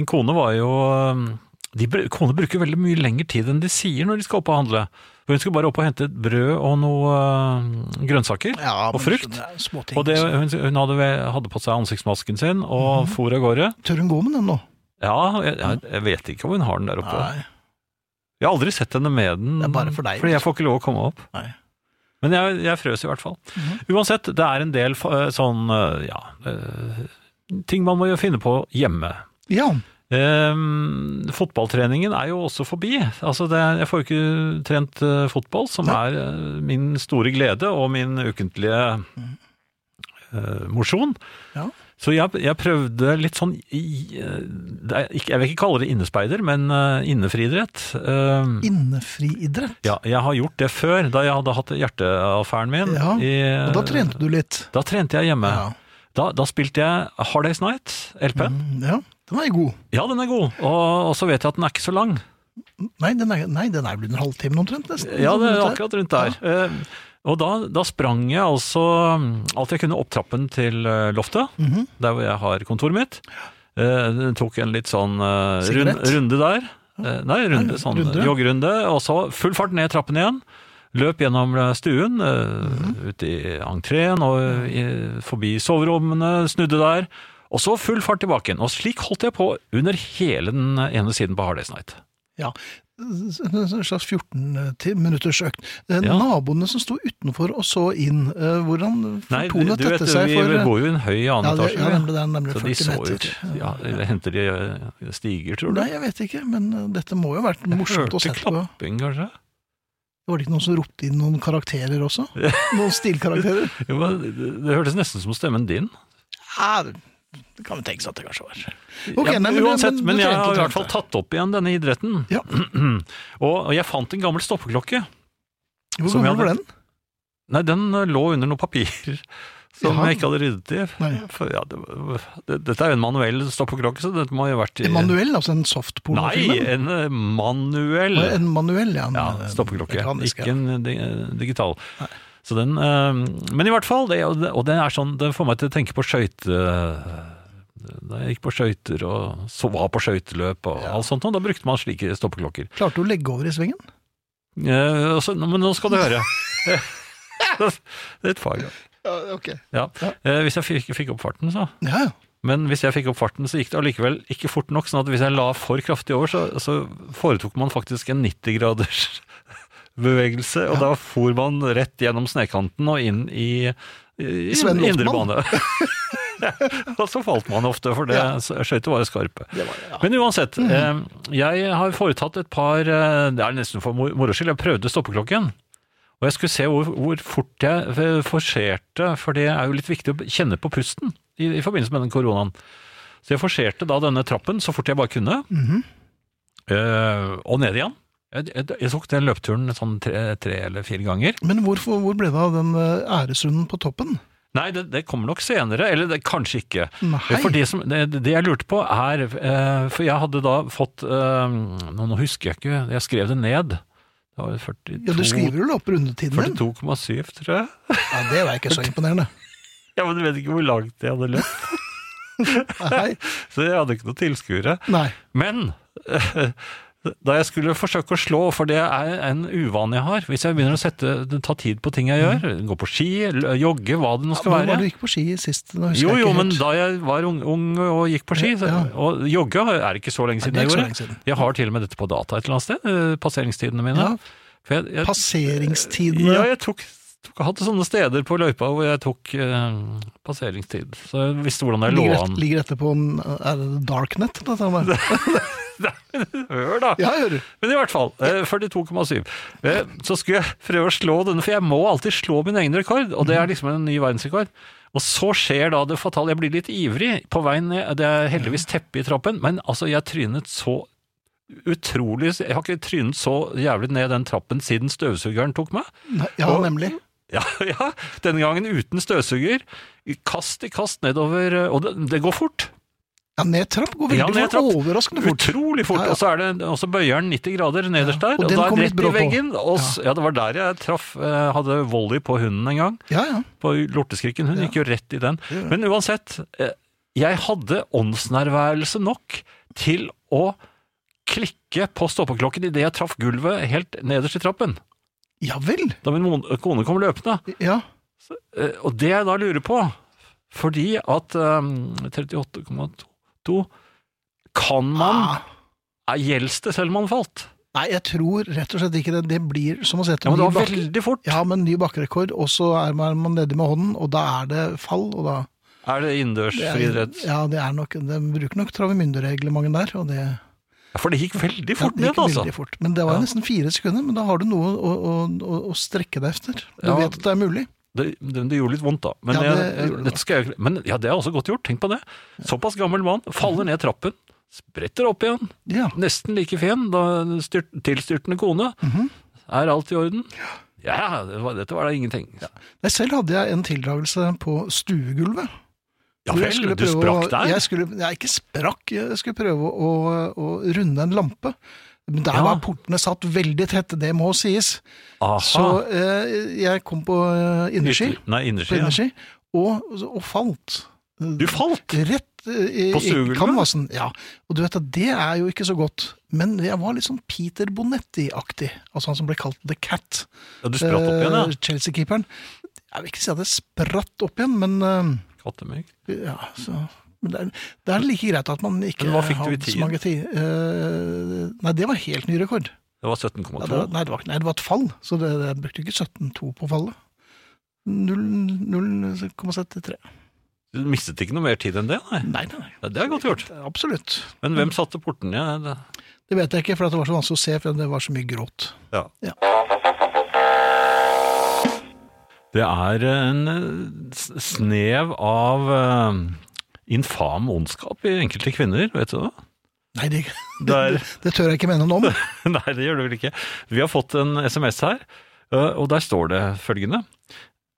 [SPEAKER 3] min kone var jo eh, de, br- Kone bruker veldig mye lengre tid enn de sier når de skal opp og handle. For Hun skulle bare opp og hente et brød og noe eh, grønnsaker
[SPEAKER 2] Ja,
[SPEAKER 3] og
[SPEAKER 2] men
[SPEAKER 3] frukt.
[SPEAKER 2] sånn er Småting.
[SPEAKER 3] Og det, hun, hun hadde, ved- hadde på seg ansiktsmasken sin og for av gårde.
[SPEAKER 2] Tør hun gå med den nå?
[SPEAKER 3] Mhm. Ja, jeg, jeg- jeg vet ikke om hun har den der oppe.
[SPEAKER 2] Nei.
[SPEAKER 3] Jeg har aldri sett henne med den,
[SPEAKER 2] Det er bare for deg, liksom.
[SPEAKER 3] fordi jeg får ikke lov å komme opp.
[SPEAKER 2] Nei.
[SPEAKER 3] Men jeg, jeg frøs i hvert fall.
[SPEAKER 2] Mhm.
[SPEAKER 3] Uansett, det er en del fa- sånn, eh, ja, eh, ting man må jo finne på hjemme.
[SPEAKER 2] Ja.
[SPEAKER 3] Ehm, fotballtreningen er jo også forbi. Altså det, jeg får jo ikke trent eh, fotball, som er eh, min store glede og min ukentlige eh, mosjon.
[SPEAKER 2] Ja.
[SPEAKER 3] Så jeg, jeg prøvde litt sånn i, eh, det er ikke- Jeg vil ikke kalle det innespeider, men eh, innefriidrett. Ehm,
[SPEAKER 2] Innefriidrett.
[SPEAKER 3] ja, jeg har gjort det før, da jeg hadde hatt hjerteaffæren min.
[SPEAKER 2] Ja,
[SPEAKER 3] i-
[SPEAKER 2] Og da trente du litt.
[SPEAKER 3] Da trente jeg hjemme.
[SPEAKER 2] Ja.
[SPEAKER 3] Da, da spilte jeg Hard Days Night, LP-en.
[SPEAKER 2] Mm, ja. Den er god.
[SPEAKER 3] Ja, den er god, og, og så vet jeg at den er ikke så lang.
[SPEAKER 2] Nei, den er, nei, den er vel under halvtimen omtrent, nesten.
[SPEAKER 3] Ja, det er
[SPEAKER 2] Sånn
[SPEAKER 3] akkurat rundt der. Eh, Og da, da sprang jeg altså mm, alt jeg kunne opp trappen til eh, loftet,
[SPEAKER 2] Mhm.
[SPEAKER 3] der hvor jeg har kontoret mitt. Eh, den tok en litt sånn eh, rund,
[SPEAKER 2] Sigarett?
[SPEAKER 3] runde der. Eh, nei, runde,
[SPEAKER 2] Nei,
[SPEAKER 3] sånn
[SPEAKER 2] runde, ja.
[SPEAKER 3] joggerunde. Og så full fart ned trappen igjen. Løp gjennom eh, stuen, eh,
[SPEAKER 2] Mhm.
[SPEAKER 3] ut i entreen og i, forbi soverommene, snudde der. Og så full fart tilbake igjen. Og slik holdt jeg på under hele den ene siden på Hard Days Night.
[SPEAKER 2] Ja. En slags 14 minutters økt. Eh,
[SPEAKER 3] Ja.
[SPEAKER 2] Naboene som sto utenfor og så inn, eh, hvordan
[SPEAKER 3] Nei, du,
[SPEAKER 2] fortonet
[SPEAKER 3] du vet,
[SPEAKER 2] dette seg
[SPEAKER 3] vi
[SPEAKER 2] for eh,
[SPEAKER 3] bor jo i en høy annen
[SPEAKER 2] Ja, det,
[SPEAKER 3] etasje.
[SPEAKER 2] ja,
[SPEAKER 3] vi.
[SPEAKER 2] nemlig, det er nemlig
[SPEAKER 3] Så de
[SPEAKER 2] 40
[SPEAKER 3] så jo
[SPEAKER 2] meter.
[SPEAKER 3] ja, eller Henter de eh, stiger, tror du?
[SPEAKER 2] Nei, jeg vet ikke, men eh, dette må jo ha vært morsomt å se
[SPEAKER 3] Hørte
[SPEAKER 2] på.
[SPEAKER 3] klapping, kanskje?
[SPEAKER 2] Var det ikke noen som ropte inn noen karakterer også? Noen stilkarakterer?
[SPEAKER 3] <laughs> Jo, men det, det hørtes nesten som stemmen din.
[SPEAKER 2] Ja, det kan jo tenkes at det kanskje var. Ok,
[SPEAKER 3] ja,
[SPEAKER 2] nei, men-
[SPEAKER 3] uansett,
[SPEAKER 2] men
[SPEAKER 3] men,
[SPEAKER 2] du
[SPEAKER 3] jeg
[SPEAKER 2] trente,
[SPEAKER 3] har i hvert fall
[SPEAKER 2] trente.
[SPEAKER 3] tatt opp igjen denne idretten.
[SPEAKER 2] Ja.
[SPEAKER 3] <clears throat> og, og jeg fant en gammel stoppeklokke.
[SPEAKER 2] Hvor
[SPEAKER 3] Som jeg
[SPEAKER 2] gammel var
[SPEAKER 3] hadde-
[SPEAKER 2] den?
[SPEAKER 3] Nei, den eh, lå under noen papirer <laughs> som
[SPEAKER 2] Jaha.
[SPEAKER 3] jeg ikke hadde ryddet i.
[SPEAKER 2] Nei.
[SPEAKER 3] For, ja, det, var- det, dette er jo en manuell stoppeklokke, så dette må jo ha vært i
[SPEAKER 2] Emanuel, altså en
[SPEAKER 3] Nei,
[SPEAKER 2] softpornofilm?
[SPEAKER 3] en eh, manuell.
[SPEAKER 2] Nei, en manuell, ja. En,
[SPEAKER 3] Ja,
[SPEAKER 2] eh,
[SPEAKER 3] stoppeklokke.
[SPEAKER 2] mekanisk, ja.
[SPEAKER 3] Ikke en di- digital. Så den, eh, men i hvert fall, det, og det- og det er sånn, det får meg til å tenke på skøyte... da jeg gikk på skøyter og så var på skøyteløp og alt sånt, og da brukte man slike stoppeklokker.
[SPEAKER 2] Klarte du å legge over i svingen?
[SPEAKER 3] Eh, og så- nå- men nå skal du høre. <laughs> det er et fag.
[SPEAKER 2] Ja, ok.
[SPEAKER 3] Ja. Eh, hvis jeg fikk, fikk opp farten, så.
[SPEAKER 2] Ja, ja.
[SPEAKER 3] Men hvis jeg fikk opp farten, så gikk det allikevel ikke fort nok. sånn at hvis jeg la for kraftig over, så, så foretok man faktisk en 90-graders <laughs> bevegelse. Og da for man rett gjennom snekanten og inn i, i, i
[SPEAKER 2] Sven Loftmann.
[SPEAKER 3] indre bane. Ja, <laughs> og så falt man ofte, for det
[SPEAKER 2] Ja.
[SPEAKER 3] skøyter var jo skarpe.
[SPEAKER 2] Det var det, ja. Mm.
[SPEAKER 3] Men uansett, eh, jeg har foretatt et par eh, Det er nesten for mor- moro skyld, jeg prøvde stoppeklokken. Og jeg skulle se hvor, hvor fort jeg eh, forserte, for det er jo litt viktig å kjenne på pusten i, i forbindelse med den koronaen. Så jeg forserte da denne trappen så fort jeg bare kunne,
[SPEAKER 2] Mm-hmm.
[SPEAKER 3] eh, og ned igjen. Jeg, jeg, jeg tok den løpeturen sånn tre, tre eller fire ganger.
[SPEAKER 2] Men hvorfor, hvor ble det av den eh, æresrunden på toppen?
[SPEAKER 3] Nei, det, det kommer nok senere, eller det, kanskje ikke.
[SPEAKER 2] Nei.
[SPEAKER 3] For det, som, det, det jeg lurte på er eh, For jeg hadde da fått eh, nå, nå husker jeg ikke, jeg skrev det ned. Det var
[SPEAKER 2] Ja, Du
[SPEAKER 3] 42
[SPEAKER 2] skriver jo opp rundetiden din.
[SPEAKER 3] 42,7, tror jeg.
[SPEAKER 2] Ja, Det var ikke så
[SPEAKER 3] <laughs>
[SPEAKER 2] imponerende.
[SPEAKER 3] Ja, men Du vet ikke hvor langt jeg hadde løpt,
[SPEAKER 2] Nei.
[SPEAKER 3] så jeg hadde ikke noe tilskuere.
[SPEAKER 2] Nei.
[SPEAKER 3] Men <laughs> da jeg skulle forsøke å slå, for det er en uvane jeg har Hvis jeg begynner å sette, ta tid på ting jeg gjør, gå på ski, l- jogge, hva det
[SPEAKER 2] Mhm.
[SPEAKER 3] nå
[SPEAKER 2] Ja,
[SPEAKER 3] skal
[SPEAKER 2] Når
[SPEAKER 3] være
[SPEAKER 2] var du gikk på ski sist? Nå husker
[SPEAKER 3] Jo,
[SPEAKER 2] jeg
[SPEAKER 3] jo,
[SPEAKER 2] ikke
[SPEAKER 3] men
[SPEAKER 2] helt.
[SPEAKER 3] da jeg var ung, ung og gikk på ski, så,
[SPEAKER 2] Ja.
[SPEAKER 3] og jogge er ikke så lenge
[SPEAKER 2] Nei,
[SPEAKER 3] siden
[SPEAKER 2] det er
[SPEAKER 3] jeg
[SPEAKER 2] ikke så
[SPEAKER 3] gjorde.
[SPEAKER 2] lenge siden.
[SPEAKER 3] Jeg har til og med dette på data et eller annet sted, eh, passeringstidene mine.
[SPEAKER 2] Ja.
[SPEAKER 3] For jeg, jeg,
[SPEAKER 2] Passeringstidene
[SPEAKER 3] ja, jeg tok, tok, hadde sånne steder på løypa hvor jeg tok eh, passeringstid, så jeg visste hvordan jeg lå
[SPEAKER 2] ligger,
[SPEAKER 3] an.
[SPEAKER 2] ligger dette på en Er det darknet? Dette
[SPEAKER 3] <laughs>
[SPEAKER 2] her?
[SPEAKER 3] Hør da!
[SPEAKER 2] Ja, jeg hører.
[SPEAKER 3] Men i hvert fall, eh, 42,7. Eh, Så skulle jeg prøve å slå denne, for jeg må alltid slå min egen rekord, og det er liksom en ny verdensrekord. Og så skjer da det fatale, jeg blir litt ivrig på veien ned, det er heldigvis teppe i trappen, men altså, jeg trynet så utrolig, jeg har ikke trynet så jævlig ned den trappen siden støvsugeren tok meg. <laughs>
[SPEAKER 2] Nei, Ja,
[SPEAKER 3] Og-
[SPEAKER 2] nemlig.
[SPEAKER 3] Ja, ja, denne gangen uten støvsuger, kast i kast nedover, eh, og det, det går fort.
[SPEAKER 2] Ja, ned trapp går veldig
[SPEAKER 3] Ja, ned
[SPEAKER 2] fort.
[SPEAKER 3] trapp.
[SPEAKER 2] Overraskende fort.
[SPEAKER 3] Utrolig fort.
[SPEAKER 2] Ja, ja.
[SPEAKER 3] Og så er det, og så bøyer den 90 grader nederst der,
[SPEAKER 2] og
[SPEAKER 3] og,
[SPEAKER 2] den
[SPEAKER 3] da
[SPEAKER 2] kom
[SPEAKER 3] er
[SPEAKER 2] litt
[SPEAKER 3] rett
[SPEAKER 2] brå
[SPEAKER 3] i
[SPEAKER 2] på.
[SPEAKER 3] veggen. Og, s- ja. det var der jeg traff eh, Hadde volley på hunden en gang.
[SPEAKER 2] Ja, ja.
[SPEAKER 3] På lorteskriken. Hun
[SPEAKER 2] Ja.
[SPEAKER 3] gikk jo rett i den.
[SPEAKER 2] gjør det.
[SPEAKER 3] Men uansett, eh, jeg hadde åndsnærværelse nok til å klikke på stoppeklokken idet jeg traff gulvet helt nederst i trappen.
[SPEAKER 2] Ja vel.
[SPEAKER 3] Da min mon- kone kom løpende.
[SPEAKER 2] Ja.
[SPEAKER 3] Eh, Og det jeg da lurer på, fordi at eh, 38,2 Kan man
[SPEAKER 2] Ah.
[SPEAKER 3] er- Gjelds det selv om man falt?
[SPEAKER 2] Nei, jeg tror rett og slett ikke det. Det blir som å sette
[SPEAKER 3] Ja, men
[SPEAKER 2] ny
[SPEAKER 3] det var
[SPEAKER 2] bakke-
[SPEAKER 3] veldig fort.
[SPEAKER 2] Ja, men ny bakkerekord, og så er man man nedi med hånden, og da er det fall, og da
[SPEAKER 3] Er det innendørs
[SPEAKER 2] det er-
[SPEAKER 3] friidrett?
[SPEAKER 2] Ja, det er nok De bruker nok travemyndereglementet der, og det
[SPEAKER 3] Ja, for det gikk veldig
[SPEAKER 2] Ja,
[SPEAKER 3] fort
[SPEAKER 2] det
[SPEAKER 3] ned,
[SPEAKER 2] gikk
[SPEAKER 3] altså.
[SPEAKER 2] veldig fort. Men det var
[SPEAKER 3] Ja.
[SPEAKER 2] nesten fire sekunder, men da har du noe å, å, å, å strekke deg etter. Du
[SPEAKER 3] Ja.
[SPEAKER 2] vet at det er mulig.
[SPEAKER 3] Det, det, det gjorde litt vondt, da. Men,
[SPEAKER 2] Ja,
[SPEAKER 3] jeg,
[SPEAKER 2] det gjorde
[SPEAKER 3] jeg,
[SPEAKER 2] det.
[SPEAKER 3] dette skal jeg, men ja, det er også godt gjort, tenk på det. Såpass gammel mann, faller ned trappen, spretter opp igjen,
[SPEAKER 2] Ja.
[SPEAKER 3] nesten like fen, da styrt, tilstyrtende kone.
[SPEAKER 2] Mhm.
[SPEAKER 3] Er alt i orden? Ja, det var, dette var da ingenting.
[SPEAKER 2] Nei, selv hadde jeg en tildragelse på stuegulvet.
[SPEAKER 3] Ja
[SPEAKER 2] Hvor jeg
[SPEAKER 3] vel,
[SPEAKER 2] skulle
[SPEAKER 3] du
[SPEAKER 2] prøve
[SPEAKER 3] sprakk
[SPEAKER 2] å-
[SPEAKER 3] der?
[SPEAKER 2] Jeg skulle, jeg ikke sprakk, jeg skulle prøve å, å runde en lampe. Men der
[SPEAKER 3] Ja.
[SPEAKER 2] var portene satt veldig tett, det må sies.
[SPEAKER 3] Aha.
[SPEAKER 2] Så eh, jeg kom på eh, innerski,
[SPEAKER 3] Ytter- Nei,
[SPEAKER 2] på
[SPEAKER 3] innerski. Ja.
[SPEAKER 2] innerski og, og falt.
[SPEAKER 3] Du falt!
[SPEAKER 2] Rett eh, i,
[SPEAKER 3] På
[SPEAKER 2] i
[SPEAKER 3] stuegulvet?
[SPEAKER 2] canvasen. Ja. Og du vet at det er jo ikke så godt. Men jeg var litt sånn Peter Bonetti-aktig. Altså han som ble kalt The Cat.
[SPEAKER 3] Ja, du spratt opp igjen, ja.
[SPEAKER 2] Eh, Chelsea-keeperen. Jeg vil ikke si at jeg spratt opp igjen, men eh,
[SPEAKER 3] Kattemygg.
[SPEAKER 2] ja, så men det er, det er like greit at man ikke
[SPEAKER 3] Men hva fikk du i
[SPEAKER 2] så mange tid. Eh, nei, det var helt ny rekord.
[SPEAKER 3] Det var
[SPEAKER 2] Ja, det, var-
[SPEAKER 3] 17,2.
[SPEAKER 2] nei, det var, nei, det var et fall, så det, det jeg brukte ikke 17,2 på fallet. Null- 0,73.
[SPEAKER 3] Du mistet ikke noe mer tid enn det, nei.
[SPEAKER 2] Nei, nei, nei.
[SPEAKER 3] Ja, det er godt gjort.
[SPEAKER 2] Absolutt.
[SPEAKER 3] Men hvem satte portene igjen? Ja, det-
[SPEAKER 2] Det vet jeg ikke, for det var så vanskelig å se, for det var så mye gråt.
[SPEAKER 3] Ja.
[SPEAKER 2] Ja.
[SPEAKER 3] Det er en eh, s- snev av eh, infam ondskap i enkelte kvinner, vet du det?
[SPEAKER 2] Nei, det, <laughs> det,
[SPEAKER 3] Der.
[SPEAKER 2] det, tør jeg ikke mene noe om.
[SPEAKER 3] <laughs> Nei, det gjør det vel ikke. Vi har fått en SMS her, eh, og der står det følgende.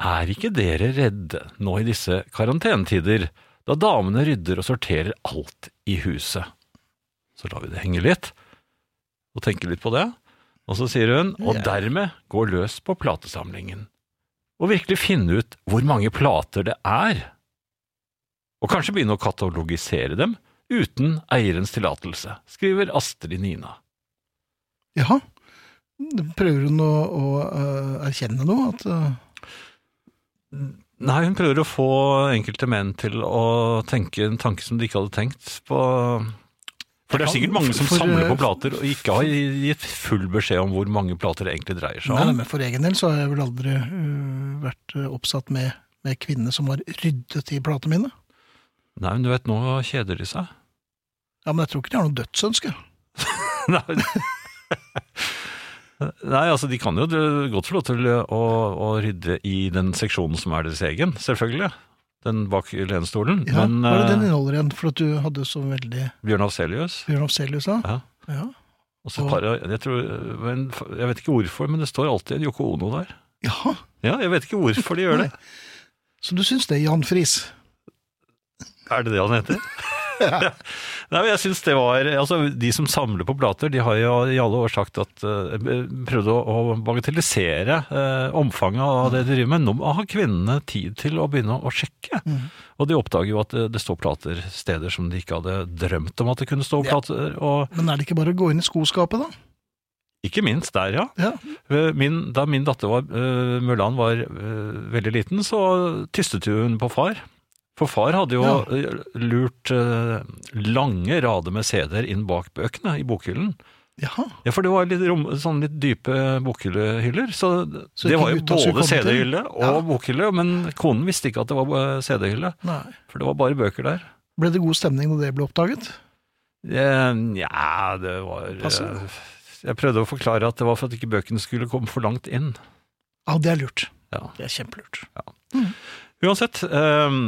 [SPEAKER 3] Er ikke dere redde nå i disse karantenetider, da damene rydder og sorterer alt i huset? Så lar vi det henge litt, og tenker litt på det. Og så sier hun, og
[SPEAKER 2] Ja.
[SPEAKER 3] dermed går løs på platesamlingen. Og virkelig finne ut hvor mange plater det er. og kanskje begynne å katalogisere dem uten eierens tillatelse, skriver Astrid Nina.
[SPEAKER 2] Jaha. Prøver hun å, å eh, erkjenne noe? At, eh,
[SPEAKER 3] Nei, hun prøver å få enkelte menn til å tenke en tanke som de ikke hadde tenkt på. For det er sikkert mange som
[SPEAKER 2] For, eh,
[SPEAKER 3] samler på plater og ikke har gitt full beskjed om hvor mange plater det egentlig dreier seg
[SPEAKER 2] nei, nei,
[SPEAKER 3] om.
[SPEAKER 2] men for egen del så har jeg vel aldri eh, vært eh, oppsatt med, med kvinner som har ryddet i platene mine.
[SPEAKER 3] Nei, men du vet, nå kjeder de <laughs> seg.
[SPEAKER 2] Ja, Men jeg tror ikke de har noe dødsønske.
[SPEAKER 3] Nei, <laughs> men- Nei, altså de kan jo godt få lov til å, å rydde i den seksjonen som er deres egen, selvfølgelig. Den bak lenestolen.
[SPEAKER 2] Ja,
[SPEAKER 3] Men
[SPEAKER 2] Hva er det den
[SPEAKER 3] eh,
[SPEAKER 2] inneholder igjen? For at du hadde så veldig
[SPEAKER 3] Bjørn Afselius
[SPEAKER 2] Bjørn Afselius da?
[SPEAKER 3] ja.
[SPEAKER 2] Ja.
[SPEAKER 3] Og så et par, jeg, tror, men, jeg vet ikke hvorfor, men det står alltid en Yoko Ono der.
[SPEAKER 2] Jaha.
[SPEAKER 3] Ja, jeg vet ikke hvorfor de gjør det.
[SPEAKER 2] Så du syns det, Jan Friis?
[SPEAKER 3] Er det det han heter? Nei, men jeg synes det var, altså De som samler på plater, de har jo i alle år sagt at eh, prøvd å, å bagatellisere eh, omfanget av det de driver med. Nå har kvinnene tid til å begynne å sjekke. Og de oppdager jo at det, det står plater steder som de ikke hadde drømt om at det kunne stå plater. Og
[SPEAKER 2] Men er det ikke bare å gå inn i skoskapet, da?
[SPEAKER 3] ikke minst der, ja.
[SPEAKER 2] Ja.
[SPEAKER 3] Eh, Min, da min datter var, eh, Mørland var eh, veldig liten, så tystet jo hun på far. For far hadde jo
[SPEAKER 2] Ja.
[SPEAKER 3] eh, lurt eh, lange rader med CD-er inn bak bøkene i bokhyllen.
[SPEAKER 2] Jaha.
[SPEAKER 3] Ja, for det var litt, rom, sånn litt dype bokhyllehyller, så,
[SPEAKER 2] Så ikke
[SPEAKER 3] det var jo
[SPEAKER 2] gutta skulle
[SPEAKER 3] både
[SPEAKER 2] komme til?
[SPEAKER 3] CD-hylle og
[SPEAKER 2] Ja.
[SPEAKER 3] bokhylle, men konen visste ikke at det var eh, CD-hylle,
[SPEAKER 2] Nei.
[SPEAKER 3] for det var bare bøker der.
[SPEAKER 2] Ble det god stemning da det ble oppdaget?
[SPEAKER 3] Eh, Nja, det var eh,
[SPEAKER 2] Passe.
[SPEAKER 3] Jeg prøvde å forklare at det var for at ikke bøkene skulle komme for langt inn.
[SPEAKER 2] Ja, det er lurt.
[SPEAKER 3] Ja.
[SPEAKER 2] Det er kjempelurt.
[SPEAKER 3] Uansett, ehm,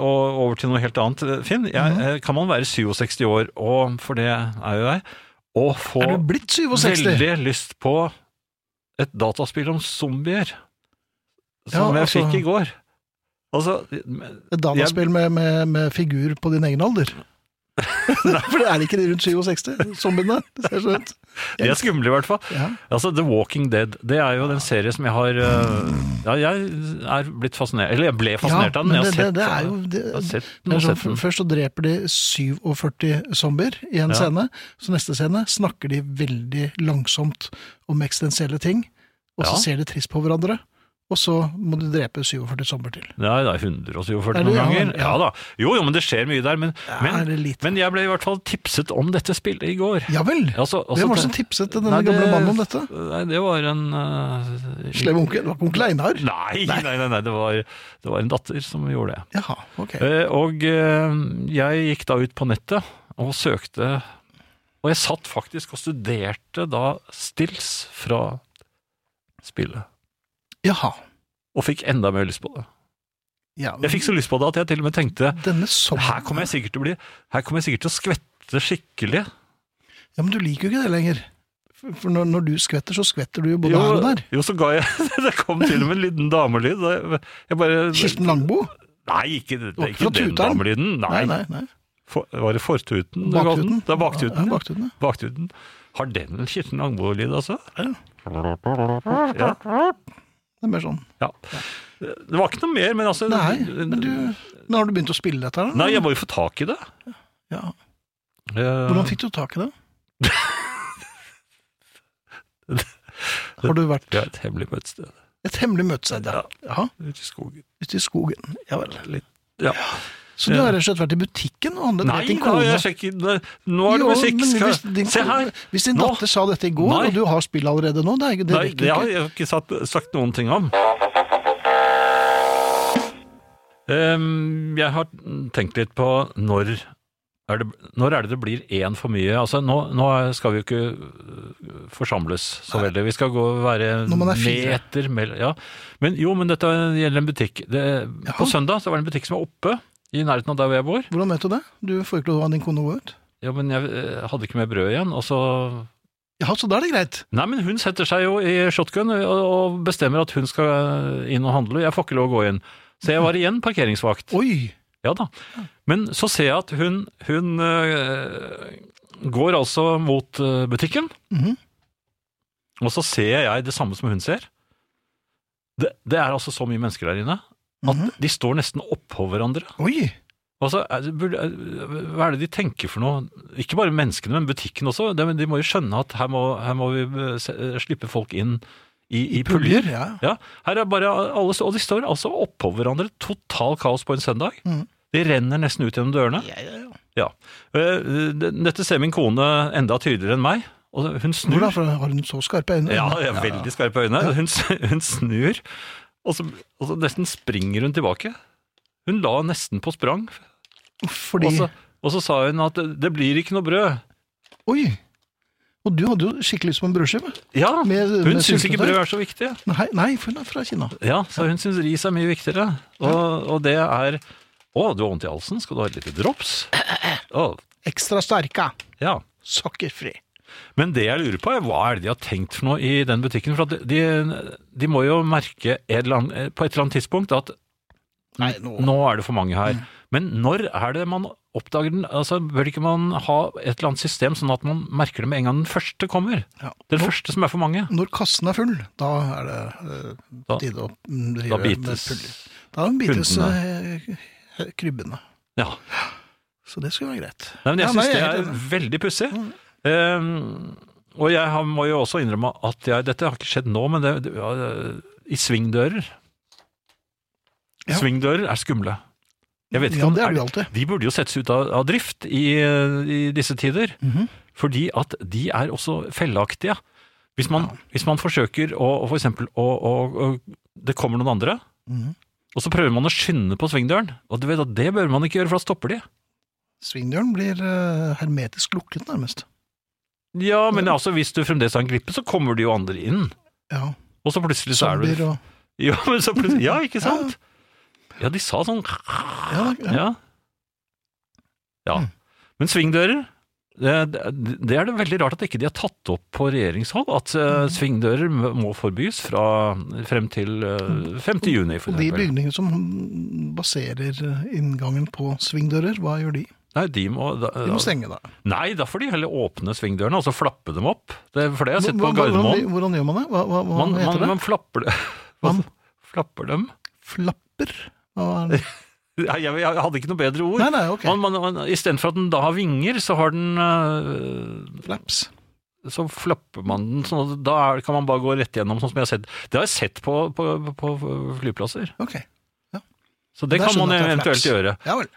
[SPEAKER 3] og over til noe helt annet. Finn, jeg,
[SPEAKER 2] Mhm.
[SPEAKER 3] eh, kan man være 67 år, og for det er jo jeg, og få
[SPEAKER 2] er du blitt 67?
[SPEAKER 3] veldig lyst på et dataspill om zombier,
[SPEAKER 2] Ja,
[SPEAKER 3] som jeg
[SPEAKER 2] altså-
[SPEAKER 3] fikk i går? Altså, men-
[SPEAKER 2] Et dataspill med, med, med figur på din egen
[SPEAKER 3] <laughs>
[SPEAKER 2] alder? Nei, For det er ikke de rundt 67, zombiene. Det ser sånn ut.
[SPEAKER 3] de er skumle i hvert fall.
[SPEAKER 2] Ja.
[SPEAKER 3] Altså, The Walking Dead, det er jo den serie som jeg har eh, Ja, jeg er blitt fascinert Eller jeg ble fascinert av den.
[SPEAKER 2] men
[SPEAKER 3] Jeg
[SPEAKER 2] det, det,
[SPEAKER 3] har sett-
[SPEAKER 2] det er jo det,
[SPEAKER 3] jeg har sett den
[SPEAKER 2] det
[SPEAKER 3] og
[SPEAKER 2] er sånn,
[SPEAKER 3] sett den.
[SPEAKER 2] Først så dreper de 47 zombier i en
[SPEAKER 3] Ja.
[SPEAKER 2] scene, så neste scene snakker de veldig langsomt om eksistensielle ting, og så
[SPEAKER 3] Ja.
[SPEAKER 2] ser de trist på hverandre, og så må du drepe 47 zombier til.
[SPEAKER 3] Nei, det er 147
[SPEAKER 2] Er det-
[SPEAKER 3] noen
[SPEAKER 2] ja, ja.
[SPEAKER 3] ganger. Ja da. Jo, jo, men det skjer mye der. Men,
[SPEAKER 2] er det
[SPEAKER 3] men,
[SPEAKER 2] lite?
[SPEAKER 3] men jeg ble i hvert fall tipset om dette spillet i går.
[SPEAKER 2] Ja vel!
[SPEAKER 3] Altså- altså-
[SPEAKER 2] Hvem var det som tipset denne
[SPEAKER 3] Nei, det-
[SPEAKER 2] gamle mannen om dette?
[SPEAKER 3] Nei, det var en eh,
[SPEAKER 2] Slem onkel? Det var ikke onkel Einar?
[SPEAKER 3] Nei, nei, nei, nei det, var, det var en datter som gjorde det.
[SPEAKER 2] Jaha, ok.
[SPEAKER 3] Eh, Og eh, jeg gikk da ut på nettet og søkte Og jeg satt faktisk og studerte da stills fra spillet.
[SPEAKER 2] Jaha.
[SPEAKER 3] Og fikk enda mer lyst på det.
[SPEAKER 2] Ja,
[SPEAKER 3] Jeg fikk så lyst på det at jeg til og med tenkte
[SPEAKER 2] Denne sommeren
[SPEAKER 3] Her kommer jeg sikkert til å bli Her kommer jeg sikkert til å skvette skikkelig.
[SPEAKER 2] Ja, men du liker jo ikke det lenger. For for når, når du skvetter, så skvetter du jo både
[SPEAKER 3] jo,
[SPEAKER 2] her og der.
[SPEAKER 3] jo, så ga jeg <laughs> Det kom til og med en liten damelyd. da Jeg jeg bare
[SPEAKER 2] Kirsten Langbo?
[SPEAKER 3] Nei, ikke, det
[SPEAKER 2] Fra
[SPEAKER 3] er ikke den
[SPEAKER 2] tuteren?
[SPEAKER 3] damelyden. Nei,
[SPEAKER 2] Nei, nei. nei.
[SPEAKER 3] For, var det fortuten? du ga den?
[SPEAKER 2] Baktuten?
[SPEAKER 3] Det er baktuten.
[SPEAKER 2] Ja,
[SPEAKER 3] ja.
[SPEAKER 2] baktuten, ja.
[SPEAKER 3] baktuten. Har den en Kirsten Langbo-lyd, altså?
[SPEAKER 2] Det er mer sånn.
[SPEAKER 3] Ja. Det var ikke noe mer, men altså
[SPEAKER 2] Nei, men du Men har du begynt å spille dette her? da?
[SPEAKER 3] Nei, jeg må jo få tak i det.
[SPEAKER 2] Ja.
[SPEAKER 3] Eh,
[SPEAKER 2] Hvordan fikk du tak
[SPEAKER 3] <laughs>
[SPEAKER 2] i det? Har du vært
[SPEAKER 3] Eh, Det er et hemmelig møtested
[SPEAKER 2] et hemmelig møtested? Ja. ja.
[SPEAKER 3] ute i skogen.
[SPEAKER 2] Ute i skogen. Ja vel.
[SPEAKER 3] Litt. Ja.
[SPEAKER 2] Så du har rett og slett vært i butikken og handlet
[SPEAKER 3] Nei,
[SPEAKER 2] ned til
[SPEAKER 3] da,
[SPEAKER 2] kone?
[SPEAKER 3] jeg sjekker Nå er det
[SPEAKER 2] Jo,
[SPEAKER 3] musikk!
[SPEAKER 2] men
[SPEAKER 3] Skal...
[SPEAKER 2] Hvis din,
[SPEAKER 3] Se her!
[SPEAKER 2] Hvis din
[SPEAKER 3] Nå.
[SPEAKER 2] datter sa dette i går,
[SPEAKER 3] Nei.
[SPEAKER 2] og du har spill allerede nå, det, er, det
[SPEAKER 3] Nei,
[SPEAKER 2] rekker
[SPEAKER 3] det
[SPEAKER 2] ikke.
[SPEAKER 3] har jeg ikke sagt, sagt noen ting om. Ehm, jeg har tenkt litt på når er det, når er det det blir én for mye? Altså, nå, nå er- skal vi jo ikke øh, forsamles så veldig. Vi skal gå og være
[SPEAKER 2] Når man er fire.
[SPEAKER 3] meter mellom ja. men, Jo, men dette gjelder en butikk. Det, på søndag så var det en butikk som er oppe i nærheten av der hvor jeg bor.
[SPEAKER 2] Hvordan vet du det? Du får ikke lov av din kone å gå ut?
[SPEAKER 3] Ja, men jeg øh, hadde ikke med brød igjen, og så
[SPEAKER 2] Ja, så da er det greit.
[SPEAKER 3] Nei, men hun setter seg jo i shotgun og- og bestemmer at hun skal inn og handle. Jeg får ikke lov å gå inn. Så jeg var igjen parkeringsvakt.
[SPEAKER 2] Oi!
[SPEAKER 3] Ja da. Men så ser jeg at hun, hun øh, går altså mot øh, butikken.
[SPEAKER 2] Mhm.
[SPEAKER 3] Og så ser jeg det samme som hun ser. Det, det er altså så mye mennesker der inne at
[SPEAKER 2] Mhm.
[SPEAKER 3] de står nesten oppå hverandre.
[SPEAKER 2] Oi!
[SPEAKER 3] Og så er det- burde- er- Hva er det de tenker for noe? Ikke bare menneskene, men butikken også. De, de må jo skjønne at her må, her må vi eh, se- eh, slippe folk inn i, i puljer.
[SPEAKER 2] ja.
[SPEAKER 3] Ja, her er bare alle, Og de står altså oppå hverandre. Total kaos på en søndag. De renner nesten ut gjennom dørene.
[SPEAKER 2] Mm. Ja, ja, ja.
[SPEAKER 3] Ja. Eh, det- Dette ser min kone enda tydeligere enn meg. Og hun snur.
[SPEAKER 2] Hvor da? For har hun så skarpe øyne?
[SPEAKER 3] Ja, jeg er veldig skarpe øyne. Hun, s- hun snur, og så, og så nesten springer hun tilbake. Hun la nesten på sprang,
[SPEAKER 2] Fordi
[SPEAKER 3] og så, og så sa hun at det blir ikke noe brød.
[SPEAKER 2] Oi! Og du hadde jo skikkelig lyst på en brødskive.
[SPEAKER 3] Ja,
[SPEAKER 2] Med-
[SPEAKER 3] hun
[SPEAKER 2] med
[SPEAKER 3] syns ikke
[SPEAKER 2] syltetøy.
[SPEAKER 3] brød er så viktig.
[SPEAKER 2] Nei, nei, for hun er fra Kina.
[SPEAKER 3] Ja, så hun syns ris er mye viktigere. Og, og det er Å, du har vondt i halsen? Skal du ha et lite drops? Å,
[SPEAKER 2] Ekstra sterke.
[SPEAKER 3] ja.
[SPEAKER 2] Sukkerfri.
[SPEAKER 3] Men det jeg lurer på, er hva er det de har tenkt for noe i den butikken? For at de, de må jo merke et eller annet, eh, på et eller annet tidspunkt at
[SPEAKER 2] Nei, nå Mm.
[SPEAKER 3] nå er det for mange her. Men når er det man oppdager den? Altså, bør ikke man ha et eller annet system sånn at man merker det med en gang den første kommer?
[SPEAKER 2] Ja.
[SPEAKER 3] Den første som er for mange.
[SPEAKER 2] Når kassen er full, da er det eh,
[SPEAKER 3] Da-
[SPEAKER 2] på tide å mm, drive
[SPEAKER 3] Da
[SPEAKER 2] med
[SPEAKER 3] bites
[SPEAKER 2] puller. Da bites eh, krybbene.
[SPEAKER 3] Ja.
[SPEAKER 2] Så det skulle være greit.
[SPEAKER 3] Nei, men jeg
[SPEAKER 2] Ja,
[SPEAKER 3] syns
[SPEAKER 2] nei,
[SPEAKER 3] det
[SPEAKER 2] jeg er
[SPEAKER 3] er
[SPEAKER 2] helt Mm.
[SPEAKER 3] veldig pussig. Ehm, og jeg har, må jo også innrømme at jeg Dette har ikke skjedd nå, men det, det, ja, i svingdører
[SPEAKER 2] Ja.
[SPEAKER 3] Svingdører er skumle. Jeg vet ikke
[SPEAKER 2] ja,
[SPEAKER 3] om
[SPEAKER 2] det er det jo alltid.
[SPEAKER 3] De burde jo settes ut av, av drift i, i disse tider,
[SPEAKER 2] Mhm.
[SPEAKER 3] fordi at de er også felleaktige. Hvis man, hvis man forsøker å, å for eksempel, å, å, å Det kommer noen andre,
[SPEAKER 2] Mhm.
[SPEAKER 3] og så prøver man å skynde på svingdøren. Og du vet at det bør man ikke gjøre, for da stopper de.
[SPEAKER 2] Svingdøren blir eh, hermetisk lukket, nærmest.
[SPEAKER 3] Ja, men altså, hvis du fremdeles har en glippe, så kommer det jo andre inn.
[SPEAKER 2] Ja,
[SPEAKER 3] Og så plutselig så er
[SPEAKER 2] Zombier
[SPEAKER 3] du
[SPEAKER 2] og
[SPEAKER 3] Ja, men så plutselig, ja ikke sant? Ja, de sa sånn
[SPEAKER 2] ja, da- ja. Mm.
[SPEAKER 3] Ja. ja. Men svingdører, det, det det er det veldig rart at ikke de har tatt opp på regjeringshold, at
[SPEAKER 2] Mm.
[SPEAKER 3] eh, svingdører m- må forbys fra, frem til eh, 5. juni, for
[SPEAKER 2] Og de
[SPEAKER 3] eksempel.
[SPEAKER 2] bygningene som mm, baserer eh, inngangen på svingdører, hva gjør de?
[SPEAKER 3] Nei, de må, da,
[SPEAKER 2] De må stenge, da.
[SPEAKER 3] nei, da får de heller åpne svingdørene, altså flappe dem opp. Det er for det jeg har sett på
[SPEAKER 2] Hvordan-
[SPEAKER 3] Gardermoen.
[SPEAKER 2] Hvordan, hvordan gjør man det? Hva, hva, hva
[SPEAKER 3] Man,
[SPEAKER 2] heter
[SPEAKER 3] man,
[SPEAKER 2] det?
[SPEAKER 3] man flapper det. <laughs> Hva
[SPEAKER 2] Man-
[SPEAKER 3] så- Flapper dem?
[SPEAKER 2] Flapper? Hva
[SPEAKER 3] <laughs>
[SPEAKER 2] er det?
[SPEAKER 3] Nei, Jeg, jeg hadde ikke noe bedre ord.
[SPEAKER 2] Nei, nei, ok.
[SPEAKER 3] Man, man, man, Istedenfor at den da har vinger, så har den eh,
[SPEAKER 2] Flaps.
[SPEAKER 3] så flapper man den, sånn at da er- kan man bare gå rett gjennom, sånn som jeg har sett. Det har jeg sett på, på, på flyplasser.
[SPEAKER 2] Ok.
[SPEAKER 3] Så det
[SPEAKER 2] Der
[SPEAKER 3] kan man
[SPEAKER 2] skjønner jeg at det er
[SPEAKER 3] eventuelt
[SPEAKER 2] flaps.
[SPEAKER 3] gjøre.
[SPEAKER 2] Ja vel.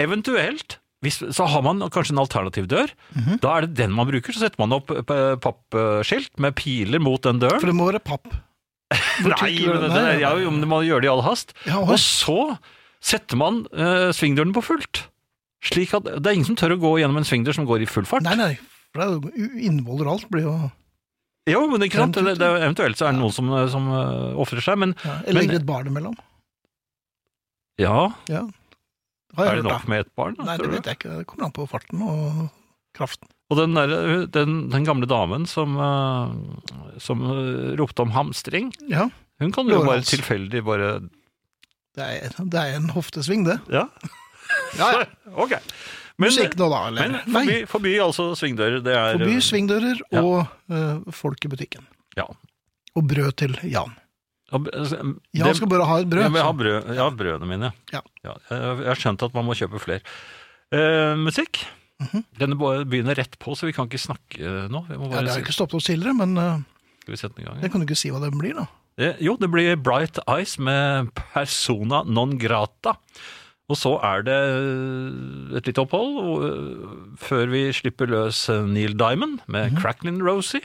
[SPEAKER 3] Eventuelt, hvis, så har man kanskje en alternativ dør.
[SPEAKER 2] Mhm.
[SPEAKER 3] Da er det den man bruker, så setter man opp eh, pappskilt med piler mot den døren.
[SPEAKER 2] For det må være
[SPEAKER 3] <laughs>
[SPEAKER 2] papp.
[SPEAKER 3] Nei,
[SPEAKER 2] tykker du-
[SPEAKER 3] men det,
[SPEAKER 2] Nei,
[SPEAKER 3] det, ja, jo, men man gjør det i all hast.
[SPEAKER 2] Ja, og-
[SPEAKER 3] Og så setter man eh, svingdøren på fullt. Slik at det er ingen som tør å gå gjennom en svingdør som går i full fart.
[SPEAKER 2] Nei, nei. For det er jo- innvoller og alt blir jo
[SPEAKER 3] Jo, men ikke sant? Det, det, eventuelt så er det noen som, som eh, ofrer seg, men
[SPEAKER 2] ja, Eller
[SPEAKER 3] Men-
[SPEAKER 2] legger et barn imellom.
[SPEAKER 3] ja,
[SPEAKER 2] Ja. Har jeg
[SPEAKER 3] er det
[SPEAKER 2] hørt,
[SPEAKER 3] nok med ett barn?
[SPEAKER 2] da. Nei, det vet jeg ikke. Det kommer an på farten og kraften.
[SPEAKER 3] Og den, der, eh, den, den gamle damen som, eh, som eh, ropte om hamstring,
[SPEAKER 2] Ja.
[SPEAKER 3] hun kan jo bare
[SPEAKER 2] Lårhals.
[SPEAKER 3] tilfeldig bare
[SPEAKER 2] Det er, det er en hoftesving, det.
[SPEAKER 3] Ja,
[SPEAKER 2] Ja, ja.
[SPEAKER 3] ok. Men,
[SPEAKER 2] Musikk nå, da. Eller?
[SPEAKER 3] men
[SPEAKER 2] Nei.
[SPEAKER 3] forby, forby altså svingdører. Det er
[SPEAKER 2] Forby svingdører
[SPEAKER 3] Ja.
[SPEAKER 2] og eh, folk i butikken.
[SPEAKER 3] Ja.
[SPEAKER 2] Og brød til Jan.
[SPEAKER 3] Og, eh,
[SPEAKER 2] Jan
[SPEAKER 3] det-
[SPEAKER 2] skal bare ha et brød.
[SPEAKER 3] Jeg vil ha
[SPEAKER 2] så-
[SPEAKER 3] brød, ja, brødene mine.
[SPEAKER 2] Ja.
[SPEAKER 3] jeg jeg har skjønt at man må kjøpe flere. Eh, musikk. Denne bo- begynner rett på, så vi kan ikke snakke eh, nå. Vi må
[SPEAKER 2] Mhm. Ja,
[SPEAKER 3] bare
[SPEAKER 2] det har
[SPEAKER 3] se-
[SPEAKER 2] jo ikke stoppet oss tidligere, men eh,
[SPEAKER 3] skal vi sette den i gang.
[SPEAKER 2] jeg kan jo ikke si hva den blir, da.
[SPEAKER 3] Eh, jo, det blir Bright Eyes med Persona non grata. Og så er det eh, et lite opphold og, eh, før vi slipper løs eh, Neil Diamond
[SPEAKER 2] Mhm.
[SPEAKER 3] med Cracklin Rosie.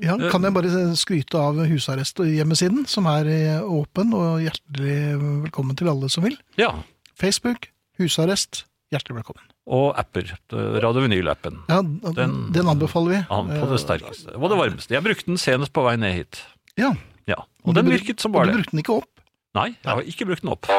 [SPEAKER 2] Ja,
[SPEAKER 3] Eh,
[SPEAKER 2] kan jeg bare skryte av husarresthjemmesiden, som er eh, åpen og hjertelig velkommen til alle som vil.
[SPEAKER 3] Ja,
[SPEAKER 2] Facebook, husarrest, hjertelig velkommen.
[SPEAKER 3] og apper. eh, Radio Vinyl-appen.
[SPEAKER 2] Ja, den, den anbefaler vi. Eh,
[SPEAKER 3] An på det sterkeste. Og det varmeste. Jeg brukte den senest på vei ned hit.
[SPEAKER 2] Ja.
[SPEAKER 3] Ja, Og den
[SPEAKER 2] Du bru-
[SPEAKER 3] virket som bare
[SPEAKER 2] Du
[SPEAKER 3] det.
[SPEAKER 2] brukte den ikke opp.
[SPEAKER 3] Nei, jeg har ikke brukt den opp.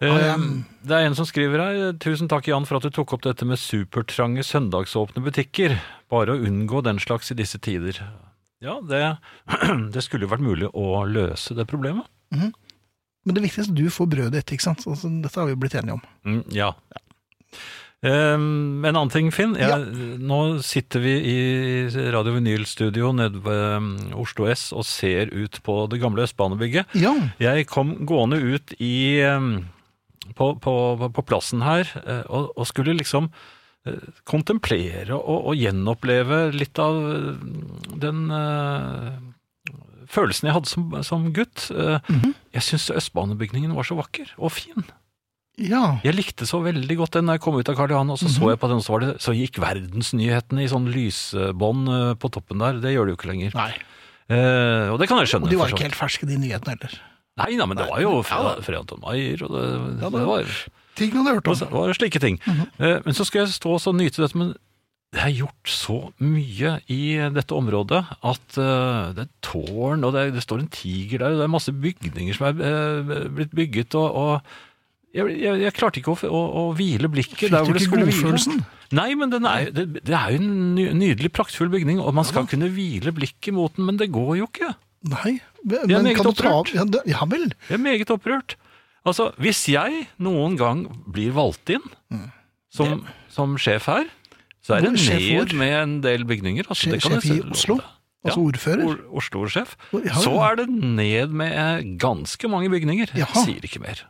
[SPEAKER 2] am-
[SPEAKER 3] Eh, Det er en som skriver her Tusen takk Jan for at du tok opp dette med supertrange søndagsåpne butikker Bare å unngå den slags i disse tider Ja, det, <clears throat> det skulle jo vært mulig å løse det problemet
[SPEAKER 2] Men det viktigste, du får brødet etter, ikke sant? Altså, dette har vi jo blitt enige om.
[SPEAKER 3] mm, Ja, Um, en annen ting, Finn. Jeg, Nå sitter vi i Radio Vinyl-studio nede ved um, Oslo S og ser ut på det gamle Østbanebygget.
[SPEAKER 2] Ja.
[SPEAKER 3] Jeg kom gående ut i um, på, på, på plassen her eh, og, og skulle liksom eh, kontemplere og, og gjenoppleve litt av eh, den eh, følelsen jeg hadde som, som gutt. Eh,
[SPEAKER 2] Mhm.
[SPEAKER 3] Jeg syns Østbanebygningen var så vakker og fin.
[SPEAKER 2] ja.
[SPEAKER 3] Jeg likte så veldig godt den da jeg kom ut av Karl Johan, og så
[SPEAKER 2] Mhm.
[SPEAKER 3] så jeg på den, og så, var det, så gikk verdensnyhetene i sånn lysbånd eh, på toppen der. Det gjør det jo ikke lenger.
[SPEAKER 2] Nei.
[SPEAKER 3] Eh, og det kan jeg skjønne.
[SPEAKER 2] Og de
[SPEAKER 3] for
[SPEAKER 2] var
[SPEAKER 3] så
[SPEAKER 2] ikke
[SPEAKER 3] vidt.
[SPEAKER 2] helt ferske, de nyhetene heller.
[SPEAKER 3] Nei, nei, men det var jo Fred, Fred Anton Maier, og det,
[SPEAKER 2] Ja,
[SPEAKER 3] det
[SPEAKER 2] det- Mhm.
[SPEAKER 3] var
[SPEAKER 2] Ting man hadde hørt
[SPEAKER 3] det
[SPEAKER 2] om.
[SPEAKER 3] var slike ting. Eh, Men så skal jeg stå og så nyte dette, men det er gjort så mye i dette området at eh, det er tårn, og det, er, det står en tiger der, og det er masse bygninger som er eh, blitt bygget, og, og jeg, jeg, jeg klarte ikke å, å, å hvile blikket
[SPEAKER 2] Fikk
[SPEAKER 3] der
[SPEAKER 2] du
[SPEAKER 3] hvor det
[SPEAKER 2] ikke
[SPEAKER 3] skulle
[SPEAKER 2] godfølelsen?
[SPEAKER 3] hvile. Nei, men den er, det, det er jo en ny- nydelig, praktfull bygning, og man skal kunne hvile blikket mot den, men det går jo ikke.
[SPEAKER 2] Nei. Men
[SPEAKER 3] De er meget
[SPEAKER 2] kan du ta av
[SPEAKER 3] opprørt.
[SPEAKER 2] ja, det- ja vel.
[SPEAKER 3] Jeg er meget opprørt. Altså, hvis jeg noen gang blir valgt inn som, som sjef her, så er det
[SPEAKER 2] Hvor- sjef
[SPEAKER 3] ned
[SPEAKER 2] hvor?
[SPEAKER 3] med en del bygninger. Altså, det
[SPEAKER 2] Sjef,
[SPEAKER 3] kan jeg
[SPEAKER 2] sjef i
[SPEAKER 3] selv love
[SPEAKER 2] Oslo?
[SPEAKER 3] deg.
[SPEAKER 2] Altså ordfører?
[SPEAKER 3] Or- Oslo-sjef.
[SPEAKER 2] Hvor- ja,
[SPEAKER 3] Så
[SPEAKER 2] ja.
[SPEAKER 3] er det ned med eh, ganske mange bygninger. Jeg
[SPEAKER 2] Jaha.
[SPEAKER 3] sier ikke mer.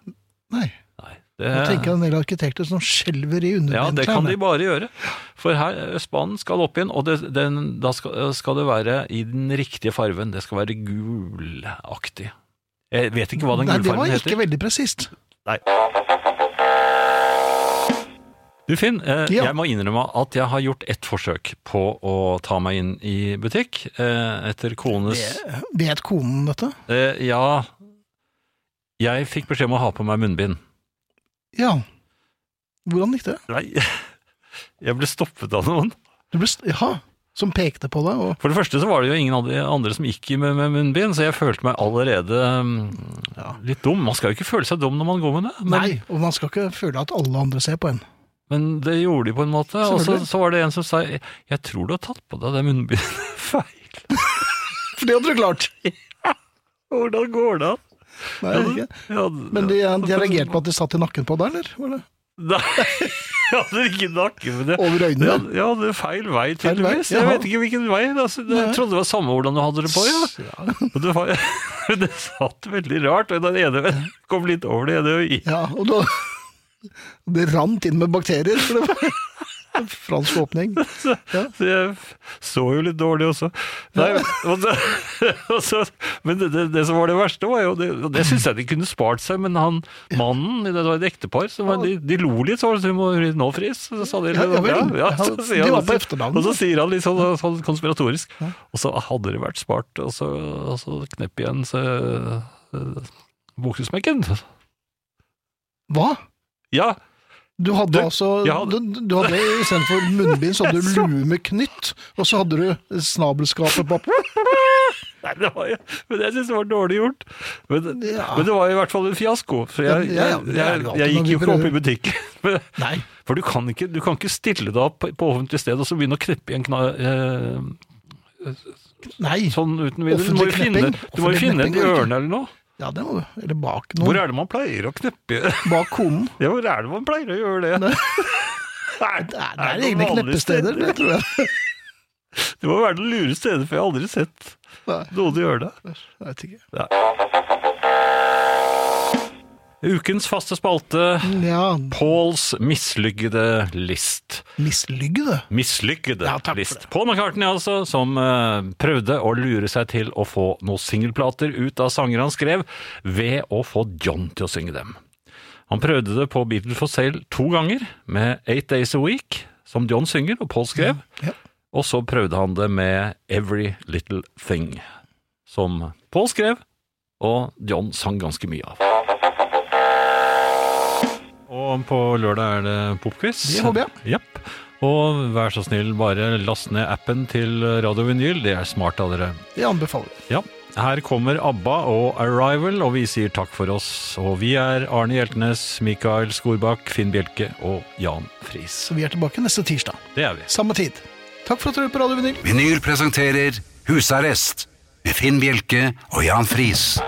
[SPEAKER 2] Nei.
[SPEAKER 3] Nei,
[SPEAKER 2] Nå
[SPEAKER 3] det,
[SPEAKER 2] tenker jeg en del arkitekter som skjelver i
[SPEAKER 3] ja, det kan de
[SPEAKER 2] underbenet.
[SPEAKER 3] bare gjøre. For her, Østbanen skal opp igjen, og det, den, da skal, eh, skal det være i den riktige farven. Det skal være gulaktig. Jeg vet ikke hva den
[SPEAKER 2] Nei, det
[SPEAKER 3] gulfarven
[SPEAKER 2] var
[SPEAKER 3] heter.
[SPEAKER 2] ikke veldig presist.
[SPEAKER 3] Du Finn, eh,
[SPEAKER 2] Ja.
[SPEAKER 3] jeg må innrømme at jeg har gjort ett forsøk på å ta meg inn i butikk eh, etter kones
[SPEAKER 2] Vet konen dette?
[SPEAKER 3] eh, Ja, jeg fikk beskjed om å ha på meg munnbind.
[SPEAKER 2] Ja. Hvordan gikk det?
[SPEAKER 3] Nei, <laughs> jeg ble stoppet av noen.
[SPEAKER 2] Du ble, st- ja, som pekte på deg, og
[SPEAKER 3] For det første så var det jo ingen av de andre som gikk med, med munnbind, så jeg følte meg allerede mm, litt dum. Man skal jo ikke føle seg dum når man går med det. men-
[SPEAKER 2] Nei, og man skal ikke føle at alle andre ser på en.
[SPEAKER 3] Men det gjorde de på en måte. Og så,
[SPEAKER 2] Selvfølgelig.
[SPEAKER 3] så var det en som sa Jeg tror du har tatt på deg det munnbindet <laughs> feil.
[SPEAKER 2] For det hadde du klart!
[SPEAKER 3] Hvordan går det an?
[SPEAKER 2] Nei, jeg vet ikke.
[SPEAKER 3] Mm. Ja, altså,
[SPEAKER 2] Men de, de reagerte på at de satt i nakken på deg, eller? Var det?
[SPEAKER 3] <laughs> Nei, jeg hadde ikke nakke, men det
[SPEAKER 2] Over øynene?
[SPEAKER 3] Ja, ja, det er feil
[SPEAKER 2] Feil
[SPEAKER 3] vei,
[SPEAKER 2] vei,
[SPEAKER 3] tydeligvis. Jeg
[SPEAKER 2] jaha.
[SPEAKER 3] vet ikke hvilken vei. Altså, jeg trodde det var samme hvordan du hadde det på, ja. Og det, var, <laughs> det satt veldig rart. og Den ene kom litt over det ene øyet.
[SPEAKER 2] Ja, og da Det rant inn med bakterier, for det var en fransk åpning.
[SPEAKER 3] <laughs> Så jeg så jo litt dårlig også. Nei, <laughs> og så, <laughs> og så, men det, det, det som var det verste, var jo Det, og det syns jeg de kunne spart seg, men han mannen Det var et ektepar. Så var, de, de lo litt, så var det sånn, vi må ri- nå, Friis. Så sa de
[SPEAKER 2] Ja, ja vel.
[SPEAKER 3] så
[SPEAKER 2] Ja,
[SPEAKER 3] sier
[SPEAKER 2] de
[SPEAKER 3] han-
[SPEAKER 2] var på efternavn.
[SPEAKER 3] Og så sier han litt sånn, sånn konspiratorisk. Og så hadde det vært spart, og så, og så knepp igjen så, eh, buksesmekken.
[SPEAKER 2] Hva?
[SPEAKER 3] Ja,
[SPEAKER 2] Du hadde
[SPEAKER 3] Du,
[SPEAKER 2] altså
[SPEAKER 3] jeg hadde-
[SPEAKER 2] Du, du hadde istedenfor munnbind, så hadde du lue med knytt, og så hadde du snabelskapet på
[SPEAKER 3] Nei, det var jo, men jeg synes det var dårlig gjort. Men,
[SPEAKER 2] Ja.
[SPEAKER 3] men det var i hvert fall en fiasko. For
[SPEAKER 2] Ja,
[SPEAKER 3] jeg,
[SPEAKER 2] ja,
[SPEAKER 3] jeg,
[SPEAKER 2] det er
[SPEAKER 3] jeg,
[SPEAKER 2] det alltid
[SPEAKER 3] jeg
[SPEAKER 2] når
[SPEAKER 3] gikk
[SPEAKER 2] vi
[SPEAKER 3] jo ikke opp i
[SPEAKER 2] prøver.
[SPEAKER 3] butikken. <laughs> Men-
[SPEAKER 2] Nei.
[SPEAKER 3] For du kan, ikke, du kan ikke stille deg opp på offentlig sted og så begynne å kneppe i en kna... Eh,
[SPEAKER 2] Nei.
[SPEAKER 3] sånn uten videre. Du må
[SPEAKER 2] Offentlig
[SPEAKER 3] jo finne,
[SPEAKER 2] knepping.
[SPEAKER 3] du må jo
[SPEAKER 2] Offentlig
[SPEAKER 3] finne et
[SPEAKER 2] knepping går ikke.
[SPEAKER 3] hjørne eller noe.
[SPEAKER 2] Ja, det må du. Eller bak
[SPEAKER 3] Hvor
[SPEAKER 2] noen.
[SPEAKER 3] er det man pleier å kneppe? <laughs> i-
[SPEAKER 2] Bak konen.
[SPEAKER 3] Ja, hvor er det man pleier å gjøre <laughs> det? Er-
[SPEAKER 2] Det er, det
[SPEAKER 3] er
[SPEAKER 2] er
[SPEAKER 3] det
[SPEAKER 2] egne
[SPEAKER 3] noen vanlige
[SPEAKER 2] kneppesteder,
[SPEAKER 3] steder?
[SPEAKER 2] det tror jeg.
[SPEAKER 3] Det må være det lure stedet, for jeg har aldri sett
[SPEAKER 2] Nei,
[SPEAKER 3] noen gjøre det.
[SPEAKER 2] jeg vet ikke.
[SPEAKER 3] Ukens faste spalte,
[SPEAKER 2] Ja,
[SPEAKER 3] Pauls mislykkede list.
[SPEAKER 2] mislygge, det.
[SPEAKER 3] Mislykkede
[SPEAKER 2] Ja, takk for
[SPEAKER 3] list.
[SPEAKER 2] det.
[SPEAKER 3] Paul McCartney, altså, som eh, prøvde å lure seg til å få noen singelplater ut av sanger han skrev, ved å få John til å synge dem. Han prøvde det på Beatles for Sale to ganger, med Eight Days A Week, som John synger, og Paul skrev.
[SPEAKER 2] Ja.
[SPEAKER 3] Og så prøvde han det med Every Little Thing, som Paul skrev, og John sang ganske mye av. Og på lørdag er det popquiz.
[SPEAKER 2] Det håper jeg.
[SPEAKER 3] Japp. Og vær så snill, bare last ned appen til Radio Vinyl. Det er smart av dere.
[SPEAKER 2] Det anbefaler vi.
[SPEAKER 3] Ja. Her kommer ABBA og Arrival, og vi sier takk for oss. Og vi er Arne Hjeltnes, Mikael Skorbakk, Finn Bjelke og Jan Friis.
[SPEAKER 2] Så vi er tilbake neste tirsdag.
[SPEAKER 3] Det er vi.
[SPEAKER 2] Samme tid. Takk for at du hører på Radio Vinyl.
[SPEAKER 1] Vinyl presenterer Husarrest med Finn Bjelke og Jan Friis.